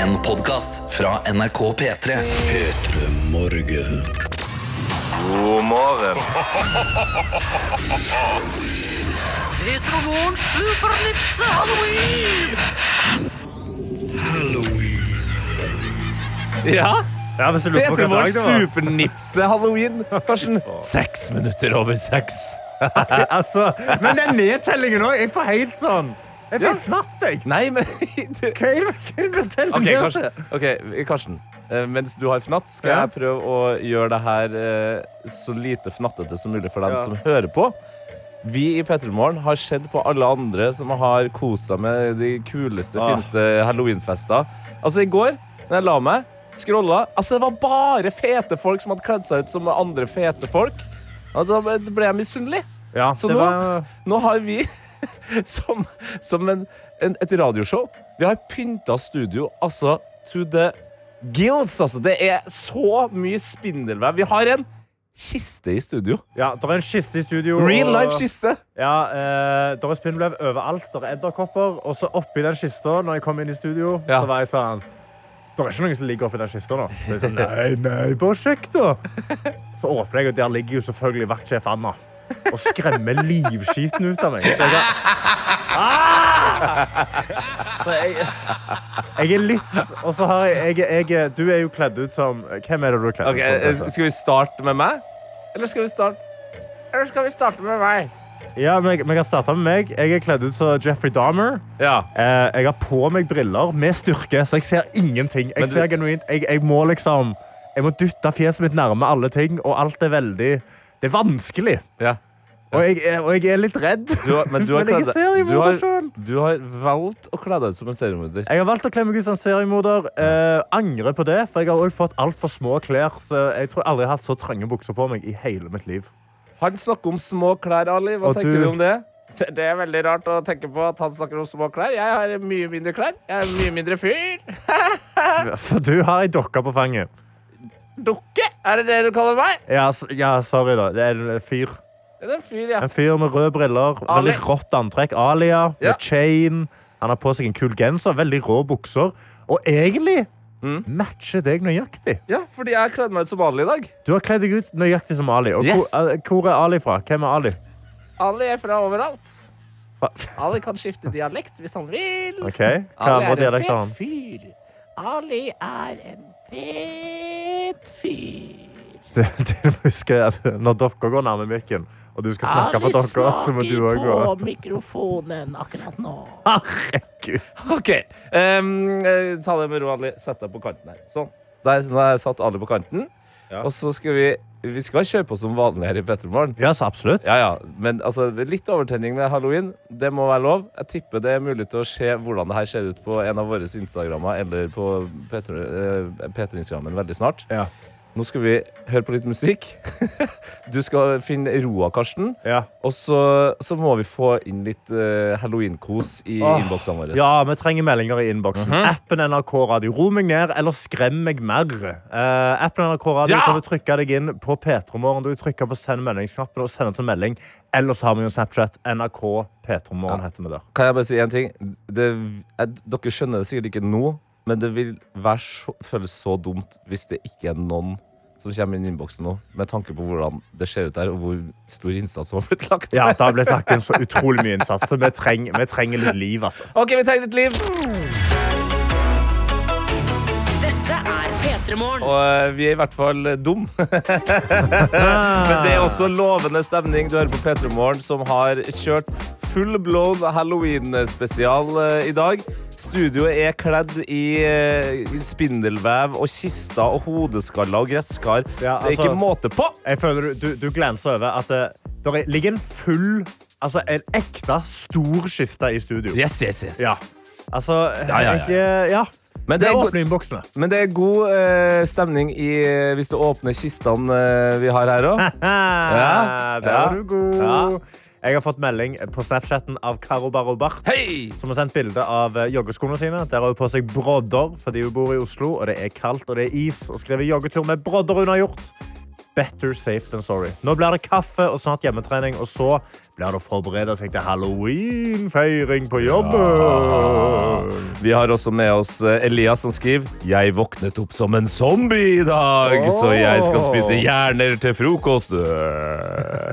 En podcast fra NRK P3 Morgen. God morgen Petromorgen supernisse halloween! Ja, Ja, hvis du lurer Peter på hva dag Morgens det var. supernipse halloween. Karsten, seks minutter over seks. Altså, men den nedtellingen òg! Jeg får helt sånn Jeg får fnatt, jeg. Nei, men Hva er det- hva er det du teller Ok, ned Karsten. til? Ok, Karsten. Eh, Mens du har fnatt, skal Ja. jeg prøve å gjøre det her eh, så lite fnattete som mulig for dem Ja. som hører på. Vi i Petremorgen har sett på alle andre som har kosa med de kuleste, Ah. fineste halloweenfester. Altså, i går, da jeg la meg, scrolla Altså, det var bare fete folk som hadde kledd seg ut som andre fete folk. Og da ble da ble jeg misunnelig. Ja, Så det nå, var- nå har vi, som, som en, en, et radioshow, vi har pynta studio altså to the gills. Altså. Det er så mye spindelvev. Vi har en kiste i studio. ja, det er en kiste i studio. Real og- life kiste. Ja, eh, der er spindelvev overalt. Der er edderkopper. Og så oppi den kista, når jeg kom inn i studio, Ja. så var jeg sånn Det er ikke noen som ligger oppi den kista nå. Så jeg sånn, nei, nei, bare sjekk, da. Så åpner jeg, og der ligger jo selvfølgelig vaktsjef Anna. Og skremmer livskiten ut av meg. Så jeg, ah! så jeg, jeg er litt Og så har jeg, jeg, jeg Du er jo kledd ut som Hvem er det du er kledd Ok, eh, ut som? Tete? Skal vi starte med meg? Eller skal vi starte Eller skal vi starte med meg? Ja, men jeg, men jeg kan starte med meg. Jeg er kledd ut som Jeffrey Dahmer. Ja. Eh, jeg har på meg briller med styrke, så jeg ser ingenting. Jeg, du- ser genuint, jeg, jeg må liksom Jeg må dytte fjeset mitt nærme alle ting, og alt er veldig Det er vanskelig. ja. Og jeg, er- og jeg er litt redd. Du har, men du har, jeg kledd, er seriemorder du, har, selv. du har valgt å kle deg ut som en seriemorder. Jeg har valgt å kle meg ut som seriemorder. Eh, angrer på det, for jeg har også fått altfor små klær. Så jeg tror aldri jeg har hatt så trange bukser på meg i hele mitt liv. Han snakker om små klær, Ali. Hva Og tenker du- du... om det? Det er veldig rart å tenke på at han snakker om små klær. Jeg har mye mindre klær. Jeg er mye mindre fyr. For du har ei dokke på fanget. Dukke? Er det det du kaller meg? Ja, s- ja, sorry, da. Det er en fyr. Det er en fyr, ja. En fyr med røde briller, Ali. veldig rått antrekk. Alia Ja. med chain. Han har på seg en kul genser, veldig rå bukser. Og egentlig Mm. matcher deg nøyaktig. Ja, fordi jeg kledde meg ut som Ali i dag. Du har kledd deg ut nøyaktig som Ali. Og Yes. hvor, eh, hvor er Ali fra? Hvem er Ali? Ali er fra overalt. Fra- Ali kan skifte dialekt hvis han vil. Ok, Hva andre dialekter har han? fyr. Ali er en fet fyr. Det, det du husker er at når dere går nærme mikken, og du skal snakke for dere, så må du òg gå. mikrofonen akkurat nå. Herregud. OK. ehm, eh, ta det med ro, Ali. Sett deg på kanten her. Sånn. Der, nå har jeg satt Ali på kanten. Og så skal vi Vi skal kjøre på som vanlig her i Petromorgen. Ja, så absolutt. Ja, ja. Men altså, litt overtenning med halloween. Det må være lov. Jeg tipper det er mulig til å se hvordan det her ser ut på en av våre Instagrammer eller på P3-instagrammen veldig snart. Ja. Nå skal vi høre på litt musikk. du skal finne roa, Karsten. Ja. Og så, så må vi få inn litt eh, halloween-kos i Åh, innboksene våre. Ja, vi trenger meldinger i innboksen. Mhm. Appen NRK Radio. Ro meg ned, eller skrem meg mer. Eh, appen NRK Radio Ja! kan du trykke deg inn på P3morgen. Du trykker på send meldingsknappen og sender til melding. Eller så har vi jo Snapchat. NRK P3morgen heter vi der. Kan jeg bare si en ting? Det, jeg, dere skjønner det sikkert ikke nå, men det vil være så, føles så dumt hvis det ikke er noen som kommer inn i innboksen nå, med tanke på hvordan det ser ut der, og hvor stor innsats som har blitt lagt. Ja, det har blitt lagt inn så utrolig mye innsats. så Vi, treng, vi trenger litt liv, altså. OK, vi trenger litt liv. Dette er Petremorgen. Og eh, vi er i hvert fall eh, dum. Ah. Men det er også lovende stemning. Du hører på P3 Morgen, som har kjørt full blown halloween-spesial eh, i dag. Studioet er kledd i eh, i spindelvev og kister og hodeskaller og gresskar. Ja, det er altså- ikke måte på! Jeg føler du, du, du glanser over at det der er- ligger en full Altså en ekte stor kiste i studio. Yes, yes, yes. Ja. Altså, ja, ja. jeg eh, Ja. Men det det er er go- åpne innboksene. Men det er god eh, stemning i, eh, hvis du åpner kistene eh, vi har her òg. Ja, Ja, der ja, var du god. ja. Jeg har fått melding på Snapchatten av Karo Barro Barth. Hei! Som har sendt bilde av eh, joggeskoene sine. Der har hun på seg brodder fordi hun bor i Oslo, og det er kaldt og det er is. Og skriver 'joggetur med brodder unnagjort'. Better safe than sorry. Nå blir det kaffe og snart hjemmetrening, og så blir det å forberede seg til halloweenfeiring på jobben. Vi har også med oss eh, Elias som skriver Jeg våknet opp som en zombie i dag, så jeg skal spise hjerner til frokost.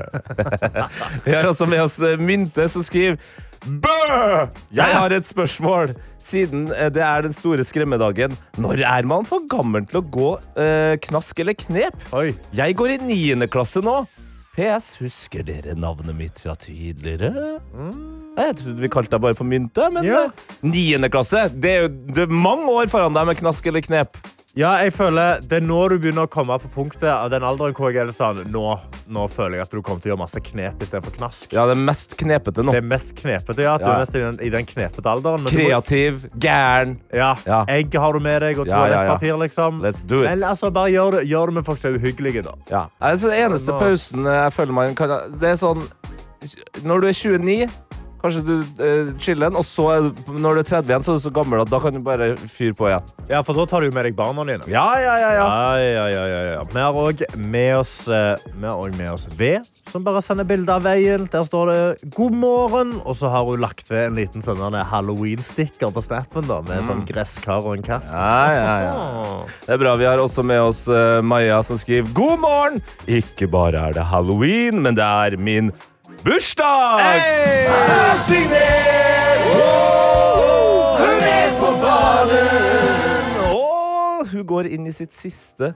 Vi har også med oss eh, Mynte som skriver Bø! Jeg har et spørsmål. Siden eh, det er den store skremmedagen, når er man for gammel til å gå eh, knask eller knep? Oi. Jeg går i niende klasse nå. PS, husker dere navnet mitt fra tidligere? Nei, Jeg trodde vi kalte deg bare for mynte, men Ja. eh, niende klasse Det er jo det er mange år foran deg med knask eller knep. Ja, jeg føler Det er nå du begynner å komme på punktet av den alderen hvor jeg er sånn Nå, nå føler jeg at du kommer til å gjøre masse knep istedenfor knask. Ja, det er mest knepete nå. Det er mest knepete, ja. at Du Ja. er mest i den, i den knepete alderen. men du må- Kreativ, gæren. Ja. Ja. Egg har du med deg, og Ja, ja, ja. toalettpapir, liksom. Let's do it. Men altså, bare gjør det, gjør det med folk som er uhyggelige, da. Ja. Altså, den eneste Nå- pausen jeg føler man kan Det er sånn Når du er 29, kanskje du uh, chiller, og så er, du- når du er 30 igjen, så er du så gammel at da kan du bare fyre på igjen. Ja, for da tar du jo med deg barna dine. Ja, ja, ja, ja. Ja, ja, ja, ja, ja. Vi har òg med oss eh, Vi har også med oss V, som bare sender bilde av veien. Der står det 'God morgen', og så har hun lagt ved en liten sånn halloween-sticker på snappen da, med sånn gresskar og en katt. Mm. Ja, Ah, ja, ja. Det er bra. Vi har også med oss eh, Maja som skriver God morgen! Ikke bare er det halloween, men det er min bursdag! Hey! Signer! Hun er på badet! Og hun går inn i sitt siste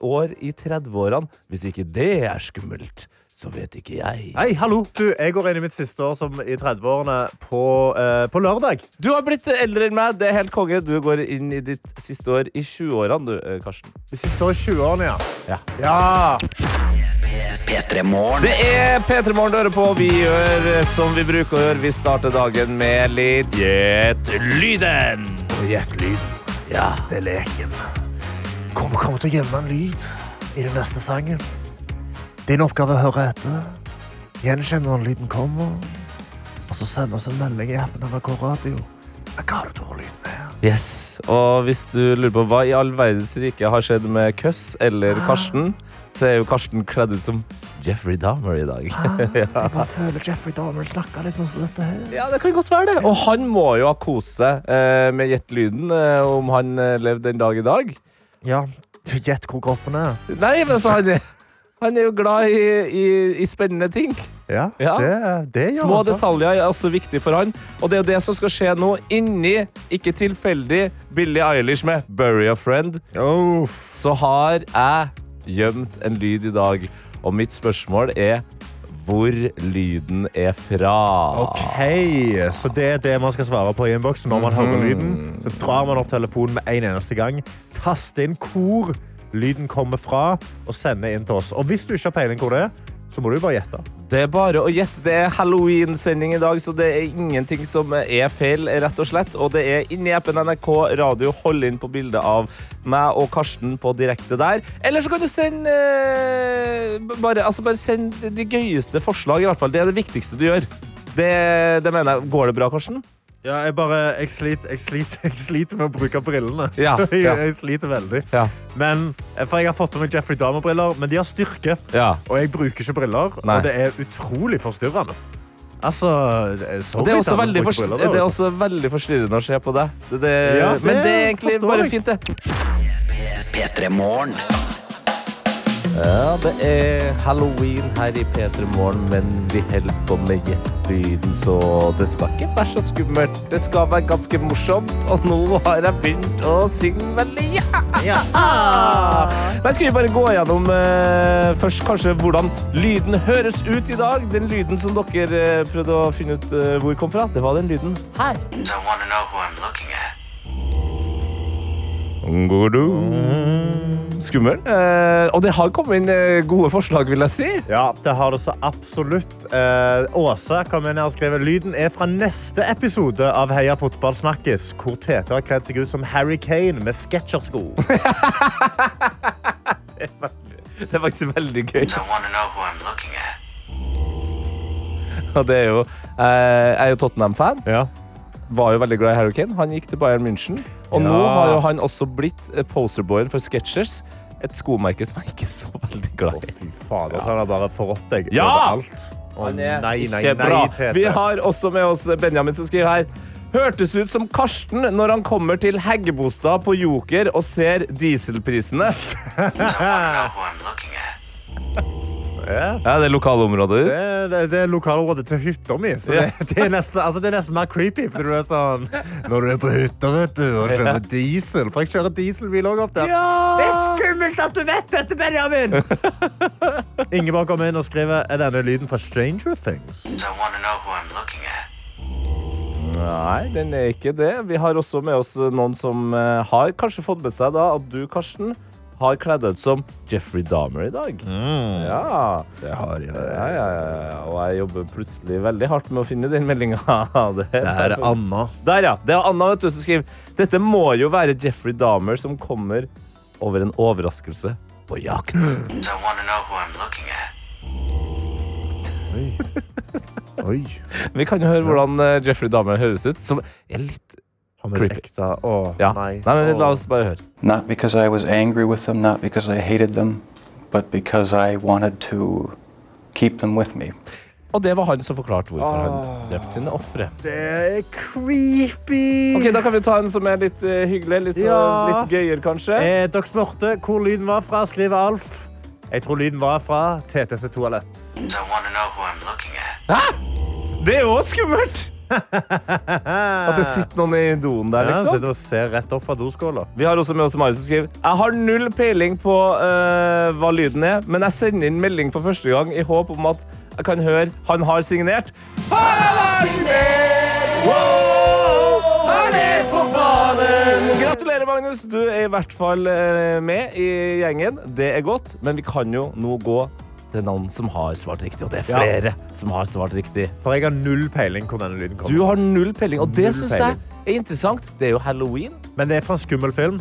år i 30-årene. Hvis ikke det er skummelt, så vet ikke jeg. Hei, hallo! Du, jeg går inn i mitt siste år som i 30-årene på, eh, på lørdag. Du har blitt eldre enn meg. Det er helt konge. Du går inn i ditt siste år i 20-årene, du, eh, Karsten. De siste år i 20-årene, ja. Ja. ja. Det er P3 Morgen du hører på. Vi gjør som vi bruker å gjøre. Vi starter dagen med litt Gjett lyden. Gjett lyden. Ja. Det er leken. Kommer kommer til å gjemme en lyd i den neste sangen. Din oppgave er å høre etter. Gjenkjenn når lyden kommer. Og så send oss en melding i appen NRK Radio. Hva har du tror lyden er? Yes. Og hvis du lurer på hva i all verdens rike har skjedd med Køss eller Karsten, så er jo Karsten kledd ut som Jeffrey Dahmer i dag. Jeg bare føler Jeffrey Dahmer snakker litt sånn som dette her. Ja, det kan godt være det. Og han må jo ha kost seg eh, med Gjett lyden eh, om han eh, levde den dag i dag. Ja, gjett hvor kroppen er. Nei, men altså, han, han er jo glad i, i, i spennende ting. Ja, Ja. det- det gjør Små altså. detaljer er også viktig for han. Og det er jo det som skal skje nå, inni, ikke tilfeldig, Billie Eilish med 'Bury a Friend', Uff. så har jeg gjemt en lyd i dag. Og mitt spørsmål er hvor lyden er fra. Ok, så det er det man skal svare på i innboksen når man Mhm. hører lyden. Så drar man opp telefonen med en eneste gang, taster inn hvor lyden kommer fra, og sender inn til oss. Og hvis du ikke har peiling hvor det er, så må du bare gjette. Det er bare å gjette. Det er Halloween-sending i dag, så det er ingenting som er feil, rett og slett. Og det er inni appen NRK Radio. Hold inn på bildet av meg og Karsten på direkte der. Eller så kan du sende eh, b- bare, altså bare send de gøyeste forslag, i hvert fall. Det er det viktigste du gjør. Det, det mener jeg. Går det bra, Karsten? Ja, jeg bare jeg sliter, jeg sliter, jeg sliter med å bruke brillene. Ja, Så jeg, ja. jeg sliter veldig. Ja. Men, eh, for jeg har fått på meg Jeffrey Dahmer-briller, men de har styrke. Ja. Og jeg bruker ikke briller, Nei. og det er utrolig forstyrrende. Altså, Og det er, også veldig forst- det er også veldig forstyrrende å se på deg. Det, det, Ja, det men det er egentlig forstår bare jeg. fint, det. Ja, det er halloween her i P3 Morgen, men vi holder på med gjettelyden, så det skal ikke være så skummelt. Det skal være ganske morsomt, og nå har jeg begynt å synge veldig ja. Nei, skal vi bare gå gjennom eh, først kanskje hvordan lyden høres ut i dag? Den lyden som dere eh, prøvde å finne ut eh, hvor kom fra, det var den lyden her. Godum. Skummel. Eh, og det har kommet inn eh, gode forslag, vil jeg si. Ja, det har det så absolutt. Eh, Åse kom inn her og skrev lyden er fra neste episode av Heia fotball snakkes, hvor Tete har kledd seg ut som Harry Kane med sketsjersko. Det er faktisk veldig gøy. Og det er jo, eh, jeg er jo Tottenham-fan. Ja. Var jo veldig glad i Harry Kane. Han gikk til Bayern München. Og Ja. nå har jo han også blitt eh, posterboyen for Sketchers. et skomerke som jeg ikke er så veldig glad i. Fy faen, altså, han har bare forrådt deg Ja! overalt. Å Han nei, er nei, nei, ikke bra. Tete. Vi har også med oss Benjamin som skriver her. Hørtes ut som Karsten når han kommer til Heggebostad på Joker og ser dieselprisene. Ja. Ja, det er lokalområdet ditt. Det, er- det, det er lokalrådet til hytta mi, så det, det, er nesten, altså, det er nesten mer creepy. For du er sånn Når du er på hytta vet du, og kjører diesel For jeg kjører dieselbil òg opp der. Det er skummelt at du vet dette, Benjamin! Ingeborg kommer inn og skriver Er denne lyden fra Stranger Things. Nei, den er ikke det. Vi har også med oss noen som eh, har kanskje fått med seg da at du, Karsten, har kledd ut som Jeffrey Dahmer i dag. Mm. Ja. Det har jeg. Ja, ja, ja, ja. Og jeg jobber plutselig veldig hardt med å finne den meldinga. Det her er Anna. Der, ja. Det er Anna vet du, som skriver Dette må jo være Jeffrey Dahmer som kommer over en overraskelse på jakt. Oi. Vi kan jo høre hvordan eh, Jeffrey Dahmer høres ut. Som er litt Han er Creepy. ekte. Å, Ja. nei. Nei, men La oss bare høre. Not because I was angry with them, not because I hated them, but because I wanted to keep them with me. Og det var han som forklarte hvorfor han drepte sine ofre. Det er creepy. Ok, Da kan vi ta en som er litt eh, hyggelig. Litt, så, Ja. litt gøyere, kanskje. Eh, dere spurte hvor lyden var fra, skriver Alf. Jeg tror lyden var fra TTC toalett. Det er jo også skummelt! At det sitter noen i doen der, Ja, liksom. sitter og ser rett opp fra doskåla. Vi har også med oss Marius som skriver Jeg har null peiling på eh, hva lyden er, men jeg sender inn melding for første gang i håp om at jeg kan høre han har signert. Han har signert! Wow! Han er på banen! Gratulerer, Magnus. Du er i hvert fall eh, med i gjengen. Det er godt, men vi kan jo nå gå til noen som har svart riktig, og det er Ja. flere som har svart riktig. For jeg har null peiling hvor denne lyden Du kommer. har null peiling, og det Null syns jeg er interessant. Det er jo halloween. Men det er fra en skummel film.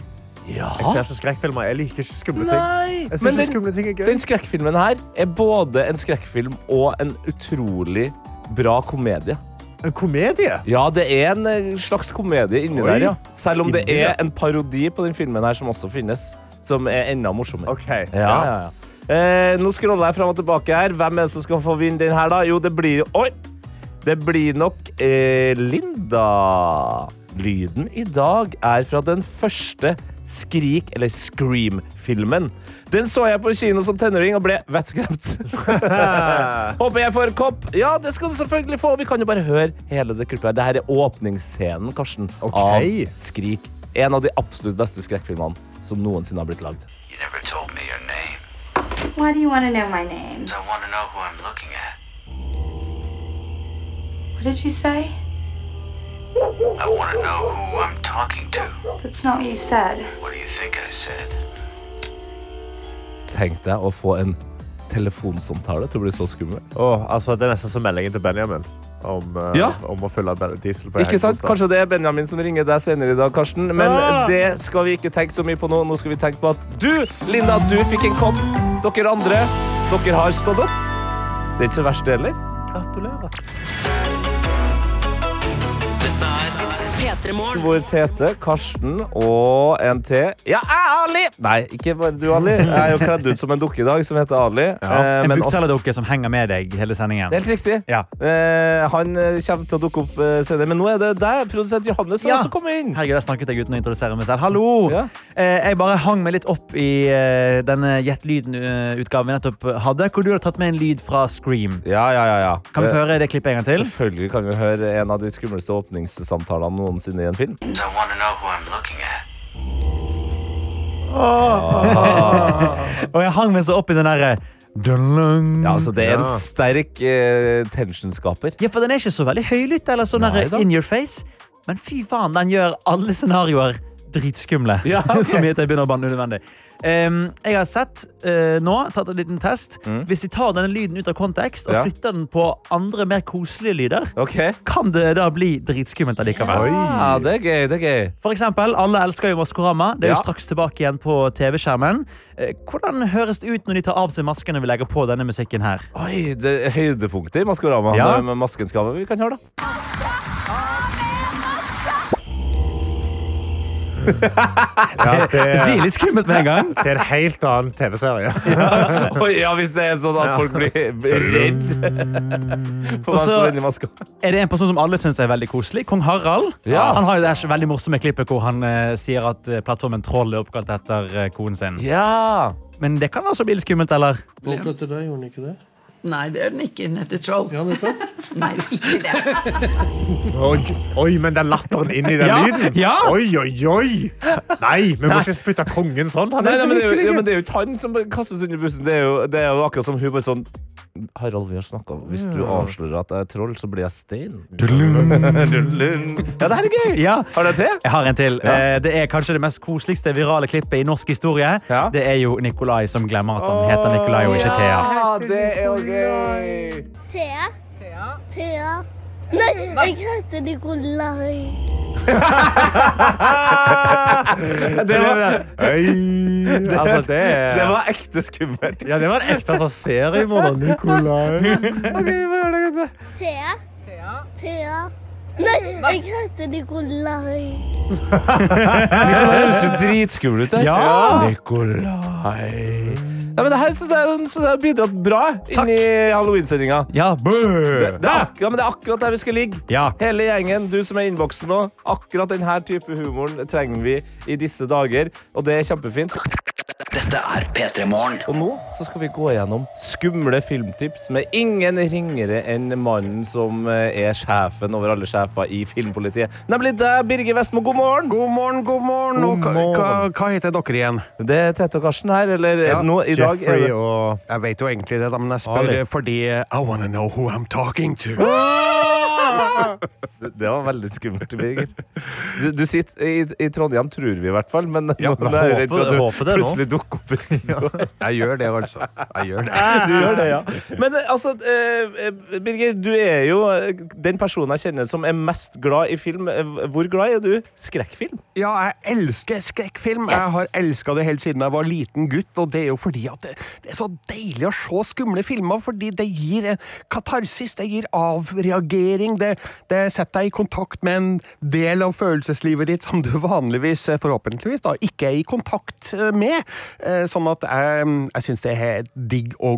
Ja. Jeg ser ikke skrekkfilmer. Jeg liker ikke skumle ting. Nei! Jeg Men synes ikke den- skumle ting er gøy. Den skrekkfilmen her er både en skrekkfilm og en utrolig bra komedie. En komedie? Ja, det er en eh, slags komedie inni Oi. der, ja. Selv om det Inni, ja. er en parodi på den filmen her som også finnes, som er enda morsommere. OK. Ja, ja, ja. Eh, nå scroller jeg fram og tilbake her. Hvem er det som skal få vinne den her, da? Jo, det blir Oi! Det blir nok eh, Linda. Lyden i dag er fra den første Skrik- eller Scream-filmen. Den så jeg på kino som tenåring og ble vettskremt. Håper jeg får kopp. Ja, det skal du selvfølgelig få. Vi kan jo bare høre hele det klippet her. Det her er åpningsscenen, Karsten, Ok. av Skrik. En av de absolutt beste skrekkfilmene som noensinne har blitt lagd. You never told me your name. Why do you want to know my name? I want to know who I'm looking at. What did you say? I want to know who I'm talking to. That's not what you said. What do you think I said? Tenk deg å få en telefonsamtale til å bli så skummel. Åh, altså, det er nesten som meldingen til Benjamin om, eh, Ja. om å fylle be- diesel på Ikke sant? Heggebostad. Kanskje det er Benjamin som ringer deg senere i dag, Karsten. Men Ah! Ja! det skal vi ikke tenke så mye på nå. Nå skal vi tenke på at du, Linda, du fikk en kopp. Dere andre, dere har stått opp. Det er ikke så verst, det heller. Gratulerer. P3morgen. Hvor Tete, Karsten og en til Ja, jeg er Ali! Nei, ikke bare du, Ali. Jeg er jo kledd ut som en dukke i dag, som heter Ali. Eh, En men også- bukttaledukke som henger med deg hele sendingen. Det er helt riktig. Ja. Eh, han eh, kommer til å dukke opp eh, senere. Men nå er det deg, produsent Johannes, som Ja. også kommer inn. Herregud, jeg snakket deg uten å introdusere meg selv. Hallo! Ja. Eh, Jeg bare hang meg litt opp i eh, denne Gjett lyden-utgaven vi nettopp hadde, hvor du hadde tatt med en lyd fra Scream. Ja, ja, ja, ja. Kan vi Eh, få høre det klippet en gang til? Selvfølgelig kan vi høre en av de skumleste åpningssamtalene noensinne i en film. I want to know who I'm looking at. Og jeg hang meg så opp i den eh, derre Ja, altså Det er en Ja. sterk eh, tensionskaper. Ja, for den er ikke så veldig høylytt eller sånn Nei der da. in your face. Men fy faen, den gjør alle scenarioer dritskumle. Ja, ok. Som gjør at jeg begynner å banne unødvendig. Ehm, jeg har sett eh, nå, tatt en liten test. Hvis vi tar denne lyden ut av kontekst og Mm. Ja. flytter den på andre, mer koselige lyder, Ok kan det da bli dritskummelt allikevel. Ja, Det er gøy. det er gøy For eksempel, alle elsker jo Maskorama. Det er Ja. jo straks tilbake igjen på TV-skjermen. Eh, hvordan høres det ut når de tar av seg maskene vi legger på denne musikken her? Oi, det er Høydepunktet i Maskorama. Ja. Det Med masken skal vi kan høre, da. Ja, det, Det blir litt skummelt med en gang. det er en helt annen TV-serie. Oi, ja, hvis det er sånn at folk blir Mm. blir redd for hva Også- som er inni maska. Er det en person som alle syns er veldig koselig? Kong Harald. Ja. Han har jo det her veldig morsomme klippet hvor han eh, sier at eh, plattformen Troll er oppkalt etter eh, konen sin. Ja. Men det kan altså bli litt skummelt, eller? Båten etter deg, gjorde den ikke det? Nei, det er den ikke. Den heter Troll. Ja, nettopp. Nei, det er ikke det. Oi, oi, men den latteren inni den Ja, lyden. ja. Oi, oi, oi. Nei, vi må ikke spytte kongen sånn. Han Nei, nei, er så men det er jo, hyggelig. ja, men det er jo ikke han som kastes under bussen. Det er jo, det er jo akkurat som hun bare sånn Harald, vi har snakka om Hvis du avslører at jeg er troll, så blir jeg stein. Tuddelum. ja, det her er gøy. Ja. Har du en til? Jeg har en til. Ja. Eh, Det er kanskje det mest koseligste virale klippet i norsk historie. Ja. Det er jo Nikolai som glemmer at han heter Nikolai og ikke Thea. Ja, det er jo gøy. Thea. Thea. Nei, jeg heter Nikolai. Det var, Oi, altså, det er- det var ekte skummelt. Ja, det var en ekte altså, seriemorder. Nikolai. Thea. Thea. Nei, jeg heter Nikolai. Nikolai høres jo dritskummel ut. der. Ja. Nikolai Nei, men Det her synes jeg er- synes jeg har bidratt bra inn i halloween-sendinga. Ja, Det, det, er ak- ja, men det er akkurat der vi skal ligge. Ja. Hele gjengen, du som er i innboksen nå. Akkurat denne type humoren trenger vi i disse dager, og det er kjempefint. Dette er P3 Morgen. Og nå så skal vi gå gjennom skumle filmtips med ingen ringere enn mannen som eh, er sjefen over alle sjefer i filmpolitiet, nemlig deg, Birger Vestmo. God morgen! God morgen, god morgen. Og hva, morgen. hva, hva heter dere igjen? Det er Tete og Karsten her, eller Ja, nå i dag er det og Jeg vet jo egentlig det, da, men jeg spør Ali. fordi eh, I wanna know who I'm talking to. Det det var veldig skummelt, Birger. Du, du sitter i, i Trondheim, tror vi i hvert fall, men Ja, nå er jeg redd for at håper- du håper det nå. plutselig dukker opp i studio. Jeg gjør det, altså. Jeg gjør det. Du gjør det, ja. Men eh, altså, eh, eh, Birger, du er jo eh, den personen jeg kjenner som er mest glad i film. Eh, Hvor glad er du? Skrekkfilm? Ja, jeg elsker skrekkfilm. Jeg har elska det helt siden jeg var liten gutt, og det er jo fordi at det, det er så deilig å se skumle filmer, fordi det gir en katarsis, det gir avreagering, det, det setter deg i kontakt med en del av følelseslivet ditt som du vanligvis, eh, forhåpentligvis, da, ikke er i kontakt eh, med. Eh, Sånn at jeg, jeg syns det er digg å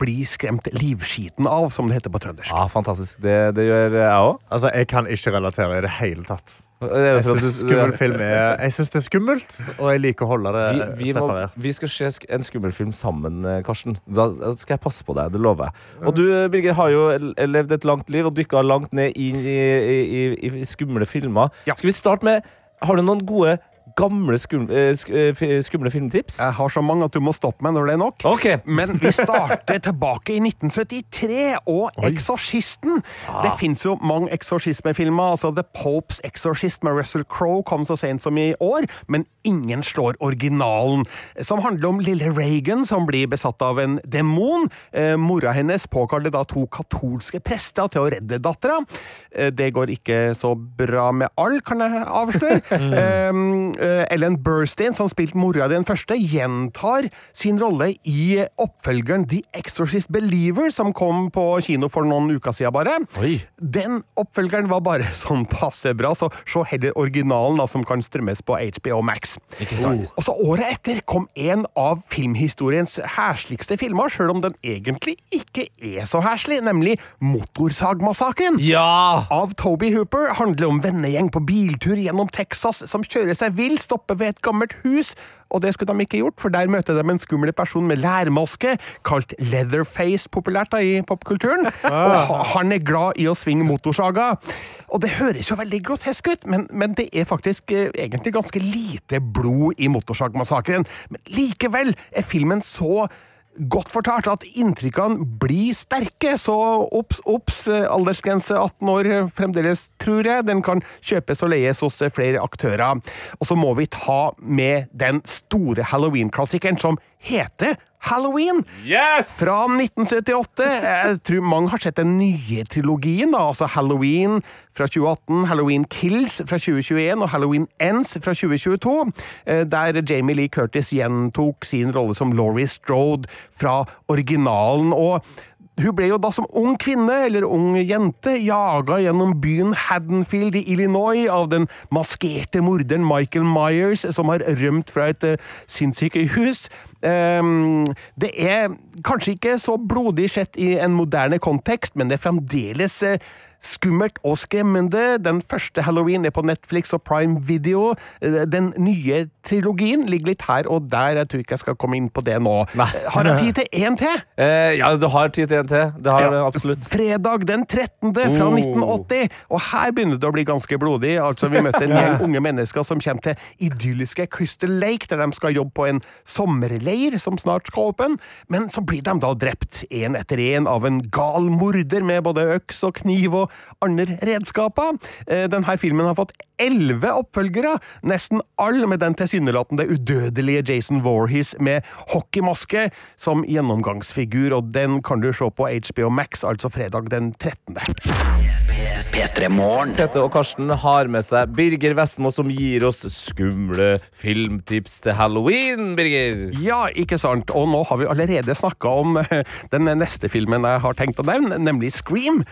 bli skremt livskiten av, som det heter på trøndersk. Ja, fantastisk. Det, det gjør jeg òg. Altså, jeg kan ikke relatere i det hele tatt. Jeg Jeg syns skummel film er Jeg synes det er skummelt, og jeg liker å holde det vi, vi, må, Eh, separert. vi skal se sk- en skummel film sammen, eh, Karsten. Da da skal jeg passe på deg. Det lover jeg. Og du, eh, Birger, har jo l- levd et langt liv og dykka langt ned inn i, i, i, i skumle filmer. Ja. Skal vi starte med Har du noen gode, gamle skum, eh, sk, eh, fi- skumle filmtips? Jeg har så mange at du må stoppe meg når det er nok. OK. Men vi starter tilbake i 1973 og Eksorsisten. Det fins jo mange eksorsismefilmer. altså The Popes Exorcist med Russell Crowe kom så sent som i år, men ingen slår originalen. Som handler om lille Reagan som blir besatt av en demon. Eh, mora hennes påkaller da to katolske prester til å redde dattera. Eh, det går ikke så bra med all, kan jeg avsløre. Em, eh, Ellen Burstyn, som spilte mora i den første, gjentar sin rolle i oppfølgeren The Exorcist Believer, som kom på kino for noen uker siden bare. Oi. Den oppfølgeren var bare sånn passe bra, så se heller originalen, da, som kan strømmes på HBO Max. Ikke sant. Og så Året etter kom en av filmhistoriens hersligste filmer, sjøl om den egentlig ikke er så herslig, nemlig Motorsagmassakren Ja! av Toby Hooper handler om vennegjeng på biltur gjennom Texas som kjører seg vill, stopper ved et gammelt hus. Og det skulle de ikke gjort, for der møter de en skummel person med lærmaske, kalt Leatherface, populært da i popkulturen. Og ha- han er glad i å svinge motorsaga. Og det høres jo veldig grotesk ut, men, men det er faktisk eh, egentlig ganske lite blod i motorsagmassakren. Men likevel er filmen så godt fortalt at inntrykkene blir sterke, så obs, obs. eh, Aldersgrense 18 år eh, fremdeles, tror jeg. Den kan kjøpes og leies hos eh, flere aktører. Og så må vi ta med den store Halloween-klassikeren som heter Halloween! Yes! Fra 1978. Jeg tror mange har sett den nye trilogien. da, altså Halloween fra 2018, Halloween Kills fra 2021 og Halloween Ends fra 2022. eh, Der Jamie Lee Curtis gjentok sin rolle som Laurie Strode fra originalen. og Hun ble jo da som ung kvinne, eller ung jente, jaga gjennom byen Haddonfield i Illinois av den maskerte morderen Michael Myers, som har rømt fra et eh, sinnssykehus. Ehm, det er kanskje ikke så blodig sett i en moderne kontekst, men det er fremdeles eh, Skummelt og skremmende. Den første Halloween er på Netflix og Prime Video. Eh, Den nye trilogien ligger litt her og der. Jeg tror ikke jeg skal komme inn på det nå. Eh, Har jeg tid til én til? Eh, ja, du har tid til en til. Det har du absolutt. Fredag den 13. fra Oh. 1980. Og her begynner det å bli ganske blodig. Altså, vi møter en gjeng unge mennesker som kommer til idylliske Crystal Lake, der de skal jobbe på en sommerleir som snart skal åpne. Men så blir de da drept én etter én av en gal morder med både øks og kniv og andre redskaper. Eh, Denne filmen har fått elleve oppfølgere, nesten alle med den tilsynelatende udødelige Jason Voorhees med hockeymaske som gjennomgangsfigur, og den kan du se på HBO Max, altså fredag den 13. Tete og Karsten har med seg Birger Vestmo, som gir oss skumle filmtips til halloween. Birger! Ja, ikke sant? Og nå har vi allerede snakka om eh, den neste filmen jeg har tenkt å nevne, nemlig Scream.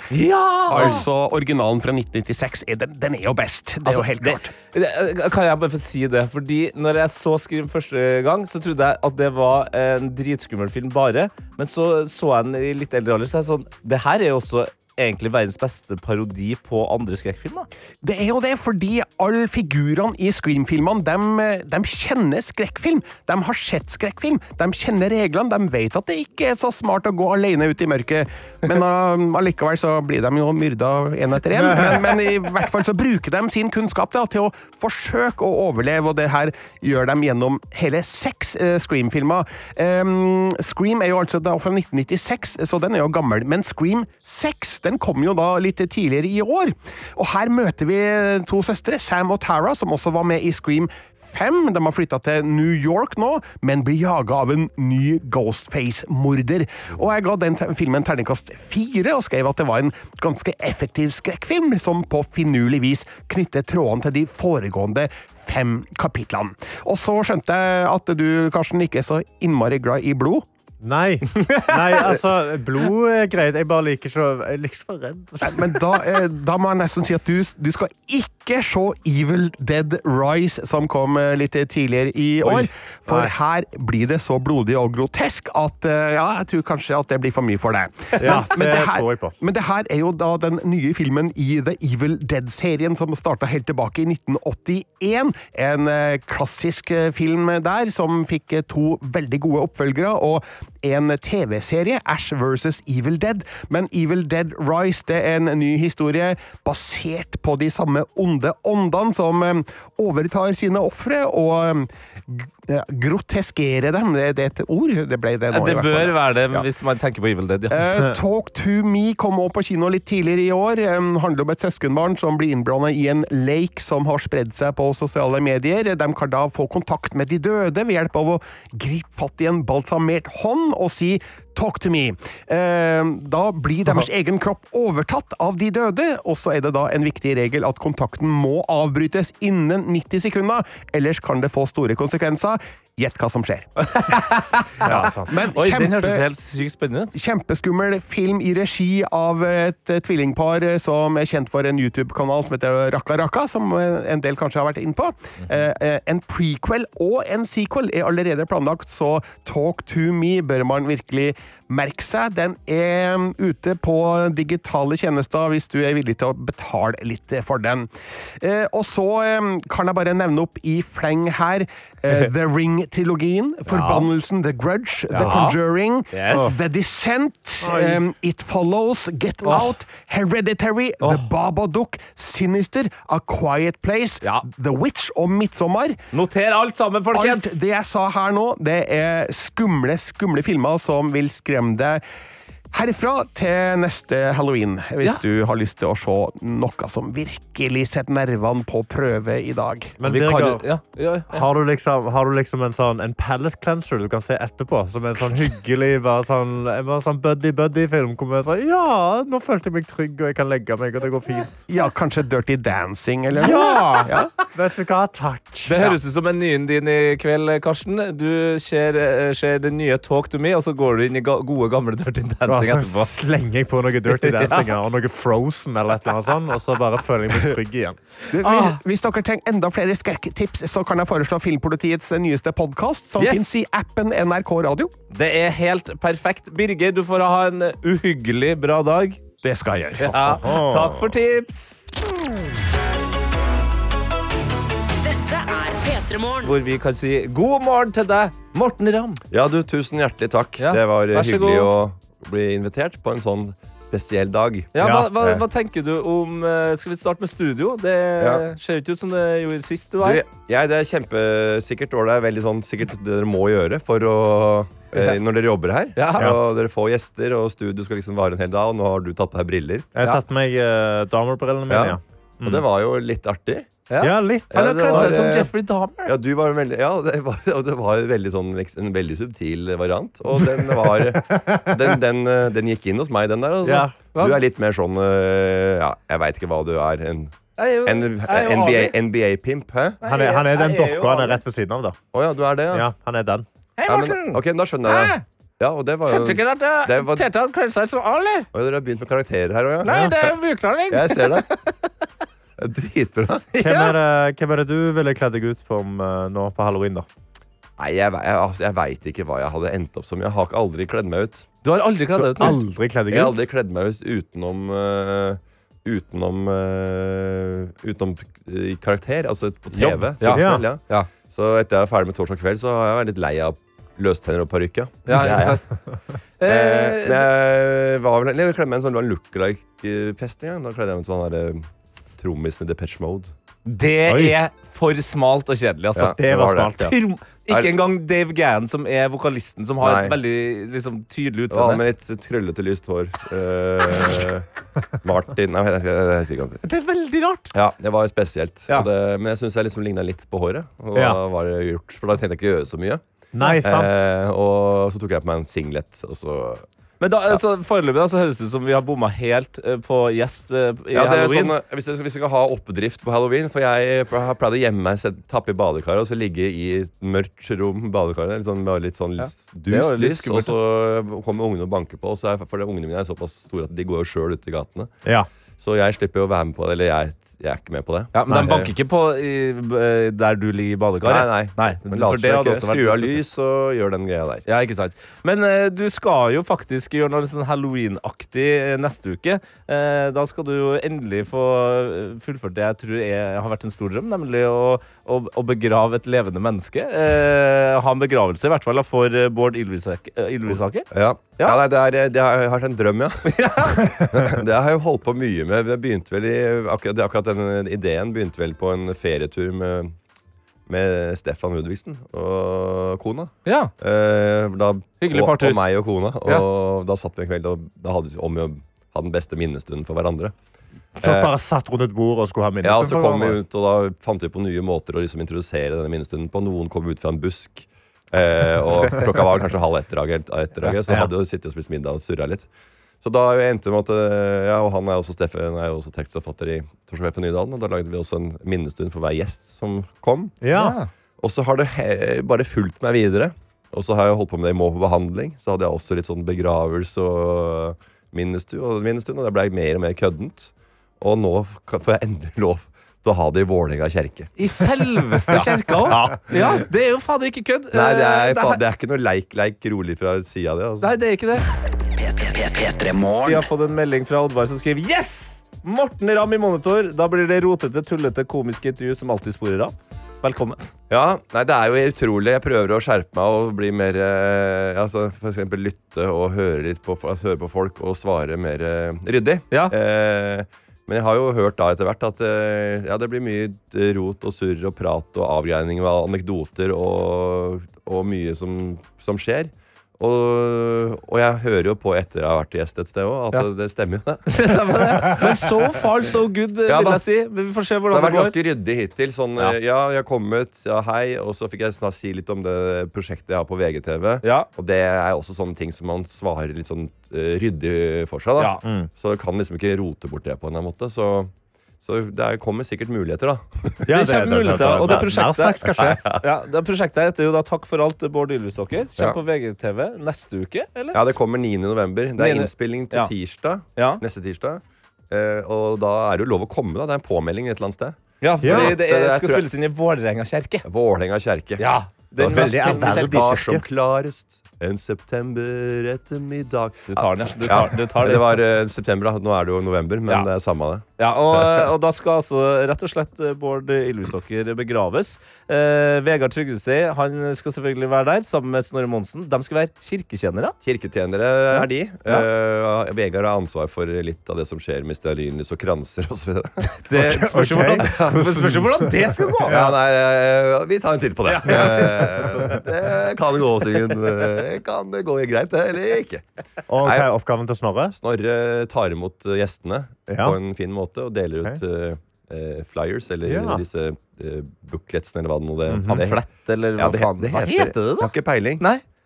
Altså originalen fra 1996. er Den, den er jo best. Det er jo Altså, helt det- klart. det- eh, Kan jeg bare få si det? Fordi når jeg så Scream første gang, så trodde jeg at det var en dritskummel film bare. Men så så jeg den i litt eldre alder, så er jeg sånn Det her er jo også egentlig verdens beste parodi på andre skrekkfilmer. Det er jo det, fordi alle figurene i Scream-filmene de, kjenner skrekkfilm. De har sett skrekkfilm. De kjenner reglene. De vet at det ikke er så smart å gå alene ut i mørket. Men um, allikevel så blir de jo myrda én etter én. Men, men i hvert fall så bruker de sin kunnskap da, til å forsøke å overleve, og det her gjør de gjennom hele seks eh, Scream-filmer. Ehm, Scream er jo altså da fra 1996, så den er jo gammel. Men Scream 6 den kom jo da litt tidligere i år. Og her møter vi to søstre, Sam og Tara, som også var med i Scream 5. De har flytta til New York nå, men blir jaga av en ny Ghostface-morder. Og jeg ga den te- filmen terningkast fire og skrev at det var en ganske effektiv skrekkfilm, som på finurlig vis knytter trådene til de foregående fem kapitlene. Og så skjønte jeg at du, Karsten, ikke er så innmari glad i blod. Nei. Nei, altså, blod er greit. Jeg bare liker ikke å Jeg liker ikke å være redd. Nei, men da, eh, da må jeg nesten si at du, du skal ikke se Evil Dead Rise, som kom eh, litt tidligere i Oi. år. For Nei. her blir det så blodig og grotesk at eh, ja, jeg tror kanskje at det blir for mye for deg. Ja, det her, tror jeg på. men det her er jo da den nye filmen i The Evil Dead-serien, som starta helt tilbake i 1981. En eh, klassisk eh, film der, som fikk eh, to veldig gode oppfølgere, og en TV-serie, Ash versus Evil Dead. Men Evil Dead Rise det er en ny historie basert på de samme onde åndene som eh, overtar sine ofre og eh, g- eh, groteskerer dem. Det det er et ord. Det ble det nå. i Det hvert fall. bør være det hvis man tenker på Evil Dead. Eh, Ja. Talk to me kom også på kino litt tidligere i år. Um, handler om et søskenbarn som blir innblanda i en lake som har spredd seg på sosiale medier. De kan da få kontakt med de døde ved hjelp av å gripe fatt i en balsamert hånd og si Talk to me. Eh, Da blir deres egen kropp overtatt av de døde, og så er det da en viktig regel at kontakten må avbrytes innen 90 sekunder, ellers kan det få store konsekvenser. Gjett hva som skjer. Men Oi, den kjempe- hørtes helt sykt spennende ut. Kjempeskummel film i regi av et eh, tvillingpar eh, som er kjent for en YouTube-kanal som heter Raka Raka, som eh, en del kanskje har vært inne på. Mhm. Eh, eh, En prequel og en sequel er allerede planlagt, så Talk to me bør man virkelig merke seg. Den er mm, ute på digitale tjenester hvis du er villig til å betale litt eh, for den. Eh, Og så eh, kan jeg bare nevne opp i fleng her eh, The Ring-trilogien, Forbannelsen, The Grudge, The Ja. Conjuring, Yes. The Descent, Oi. um, It Follows, Get Åh. Out, Hereditary, The Babadook, Sinister, A Quiet Place, The Witch og Midtsommer. Noter alt sammen, folkens! Alt det jeg sa her nå, det er skumle, skumle filmer som vil skremme deg. Herfra til neste halloween, hvis du har lyst til å se noe som virkelig setter nervene på prøve i dag. Men Birger, Har, du liksom, har du liksom en sånn en pallet cleanser du kan se etterpå? Som en sånn hyggelig bare sånn, bare sånn buddy-buddy-film? Hvor man er sånn, ja, nå følte jeg meg trygg, og jeg kan legge meg, og det går fint. Ja, kanskje Dirty Dancing, eller? Ja! Vet du hva? Takk. Det høres ut som menyen din i kveld, Karsten. Du ser, eh, ser den nye Talk to me, og så går du inn i ga gode, gamle Dirty Dancing. dancing så etterpå. sånn slenger jeg på noe dirty dancing Ja. og noe frozen eller et eller annet sånt, og så bare føler jeg meg trygg igjen. Du, Hvis, Ah. hvis dere trenger enda flere skrekktips, så kan jeg foreslå Filmpolitiets eh, nyeste podkast, som Yes. finnes i appen NRK Radio. Det er helt perfekt. Birger, du får ha en uhyggelig bra dag. Det skal jeg gjøre. Ja. Takk for tips! Dette er P3 Morgen. hvor vi kan si god morgen til deg, Morten Ramm. Ja, du, tusen hjertelig takk. Det var eh, vær så hyggelig god. å bli invitert på en sånn spesiell dag. Ja, hva, hva, hva tenker du om eh, Skal vi starte med studio? Det Ja. ser jo ikke ut som det gjorde sist du Du, var her. jeg, jeg- det er kjempesikkert, og det er veldig sånn sikkert det dere må gjøre for å eh, når dere jobber her. Ja. Og dere får gjester, og studio skal liksom vare en hel dag, og nå har du tatt på deg briller. Jeg har tatt på meg uh, damerbrillene mine, ja. Ja. Og det var jo litt artig. Ja, litt. Ja, det var, eh, Dahmer. Ja, du var veldig, ja det var, og det var veldig sånn, eks- en veldig subtil variant. Og den var Den, den, eh, den gikk inn hos meg, den der. Altså. Ja. Du er litt mer sånn eh, Ja, jeg veit ikke hva du er. En, Jeg er jo- en, jeg er jo NBA, Ali. NBA-pimp, hæ? Han er, han er den dokka han er rett ved siden av, da. Å ja, du er det, ja. Ja, han er den. Hei, Ja, men- Morten! ok, da skjønner jeg det. Ja, og det var jo Skjønte ikke at eh, det var, Tete hadde kledd seg som Ali. Oi, Dere har begynt med karakterer her òg, ja? Nei, det er jo buklading. Jeg ser det. Det er Dritbra. Hvem er, det, hvem er det du ville kledd deg ut som eh, nå på halloween, da? Nei, jeg, ve- jeg, altså, jeg veit ikke hva jeg hadde endt opp som. Jeg har ikke aldri kledd meg ut. Du har aldri kledd deg ut? Morten. Aldri kledd deg Jeg har ut? aldri kledd meg ut utenom eh, Utenom eh, Utenom eh, karakter, altså på TV. Jobb. Ja. profesjonell, Ja. Ja. Så etter jeg er ferdig med torsdag kveld, så er jeg litt lei av løstenner og parykk. Ja. Ja, Det er ikke jeg. sant? Eh, men jeg var vel Jeg kledde meg i en sånn look-alike-fest en gang. Da kledde jeg meg ut som han derre trommisen i Depeche Mode. Det Oi. er for smalt og kjedelig, altså. Ja, det var smalt, ja. Trom- Ikke engang Dave Gann, som er vokalisten, som har et Nei. veldig liksom, tydelig Det var utseende. han med litt krøllete, lyst hår. Eh, Martin Nei, jeg, jeg, jeg, jeg husker ikke han. Det er veldig rart. Ja, det var spesielt. Og Det, men jeg syns jeg liksom ligna litt på håret. Og hva Ja. var det gjort? For da tenkte jeg ikke å gjøre så mye. Nei, sant. Eh, og så tok jeg på meg en singlet, og så Men da, altså, foreløpig da, så høres det ut som vi har bomma helt eh, på gjest eh, i ja, det er jo halloween. sånn, eh, hvis, jeg, hvis jeg skal ha oppdrift på halloween For jeg p- har pleid å gjemme meg, sette- tappe i badekaret og så ligge i et mørkt rom. i Badekaret, litt sånn, med litt sånn lys- Det er jo dust litt lys. skummelt, Og så kommer ungene og banker på. Og så er, for det, ungene mine er såpass store at de går jo sjøl ute i gatene. Ja. Så jeg slipper jo å være med på det. Eller jeg, jeg er ikke med på det. Ja, men de banker ikke på i, b- eh, der du ligger i badekaret? Nei, nei. Men for later det som hadde ikke. også vært Skru av spesielt. lys og gjør den greia der. Ja, ikke sant. Men eh, du skal jo faktisk gjøre noe sånn Halloween-aktig eh, neste uke. Eh, da skal du jo endelig få eh, fullført det jeg tror er, har vært en stor drøm, nemlig å, å, å begrave et levende menneske. Eh, ha en begravelse, i hvert fall, da, for eh, Bård Ylvisæk- eh, Ylvisaker. Ja. ja. nei, det, er, eh, det har vært en drøm, ja. det har jeg jo holdt på mye med. Det begynte vel i, akkurat, akkurat den ideen begynte vel på en ferietur med, med Stefan Ludvigsen og kona. Ja. Eh, da, Hyggelig og, partur. Og meg og kona. Og Ja. da satt vi en kveld og da hadde vi om å ha den beste minnestunden for hverandre. Dere Eh, bare satt rundt et bord og skulle ha ja, og så minnestund? kom vi ut, og da fant vi på nye måter å liksom introdusere denne minnestunden på. Noen kom ut fra en busk, eh, og klokka var kanskje halv ett draget, etter draget, så Ja. hadde vi sittet og spist middag og surra litt. Så da endte det med at eh, ja, og han er også, Steffen, er jo også tekstforfatter i Torskveld for Nydalen, og da lagde vi også en minnestund for hver gjest som kom. Ja. Og så har det he bare fulgt meg videre. Og så har jeg holdt på med det i Må på behandling. Så hadde jeg også litt sånn begravelse og minnestund, og, minnestund, og det blei mer og mer køddent. Og nå f- kan- får jeg endelig lov til å ha det i Vålerenga kirke. I selveste kjerka òg! Ja. Ja, det er jo fader ikke kødd. Nei, Eh, det er, her- faen, det er ikke noe leik-leik rolig fra sida av det. Altså. Nei, det er ikke det. Vi har fått en melding fra Oddvar som skriver Yes! Morten Ramm i Monitor. Da blir det rotete, tullete, komiske intervju som alltid sporer av. Velkommen. Ja, nei, det er jo utrolig. Jeg prøver å skjerpe meg og bli mer eh, altså, For eksempel lytte og høre litt på, altså, høre på folk og svare mer eh, ryddig. Eh, men jeg har jo hørt da etter hvert at eh, ja, det blir mye rot og surr og prat og avgreininger og anekdoter og, og mye som, som skjer. Og, og jeg hører jo på etter jeg har vært gjest et sted òg, at Ja. det stemmer jo. det. Det stemmer det. Men so far, so good, Ja, vil da. jeg si. Men Vi får se Så det hvordan har det vært går. ganske ryddig hittil. Sånn, Ja. eh, ja, jeg har kommet, ja, hei. Og så fikk jeg snart si litt om det prosjektet jeg har på VGTV. Og det er også sånne ting som man svarer litt sånn eh, ryddig for seg, da. Ja. Mm. Så du kan liksom ikke rote bort det på en eller annen måte. Så, Så det er- kommer sikkert muligheter, da. Ja, det kommer muligheter. Og det altså, prosjektet, Ja, ja, det prosjektet heter jo da Takk for alt, Bård Ylvisåker. Kommer Ja. på VGTV neste uke, eller? Ja, det kommer 9. november. Det er 9.. innspilling til Ja. tirsdag. Ja. Neste tirsdag. Eh, og da er det jo lov å komme, da. Det er en påmelding et eller annet sted. Ja, fordi det er- skal spilles inn i Vålerenga kirke. Vålerenga kirke. Ja, den Og veldig mest kjente ærverdig kirke. Var som klarest en september ettermiddag Du tar den, ja. Du tar- du tar den. Det var eh, september, da. Nå er det jo november, men det er samme det. Ja, og, og da skal altså rett og slett Bård Ylvisåker begraves. Eh, Vegard Tryggestad han skal selvfølgelig være der, sammen med Snorre Monsen. De skal være kirketjenere. Kirketjenere er de. Ja. Eh, Vegard har ansvar for litt av det som skjer med stearinlys og kranser osv. Det eh, spørs jo hvordan, det spørs jo hvordan det skal gå. Ja, nei, eh, vi tar en titt på det. Eh, Det kan gå, Sigurd. Eh, Kan det gå greit, det, eller ikke? Og hva Nei. er oppgaven til Snorre? Snorre tar imot eh, gjestene Ja. på en fin måte og deler ut eh, eh, flyers, eller Ja. Mm. disse eh, bookletsene, eller hva det nå det Mhm. Pamflett, eller ja, hva det, faen- det hva heter. heter det da? Jeg har ikke peiling.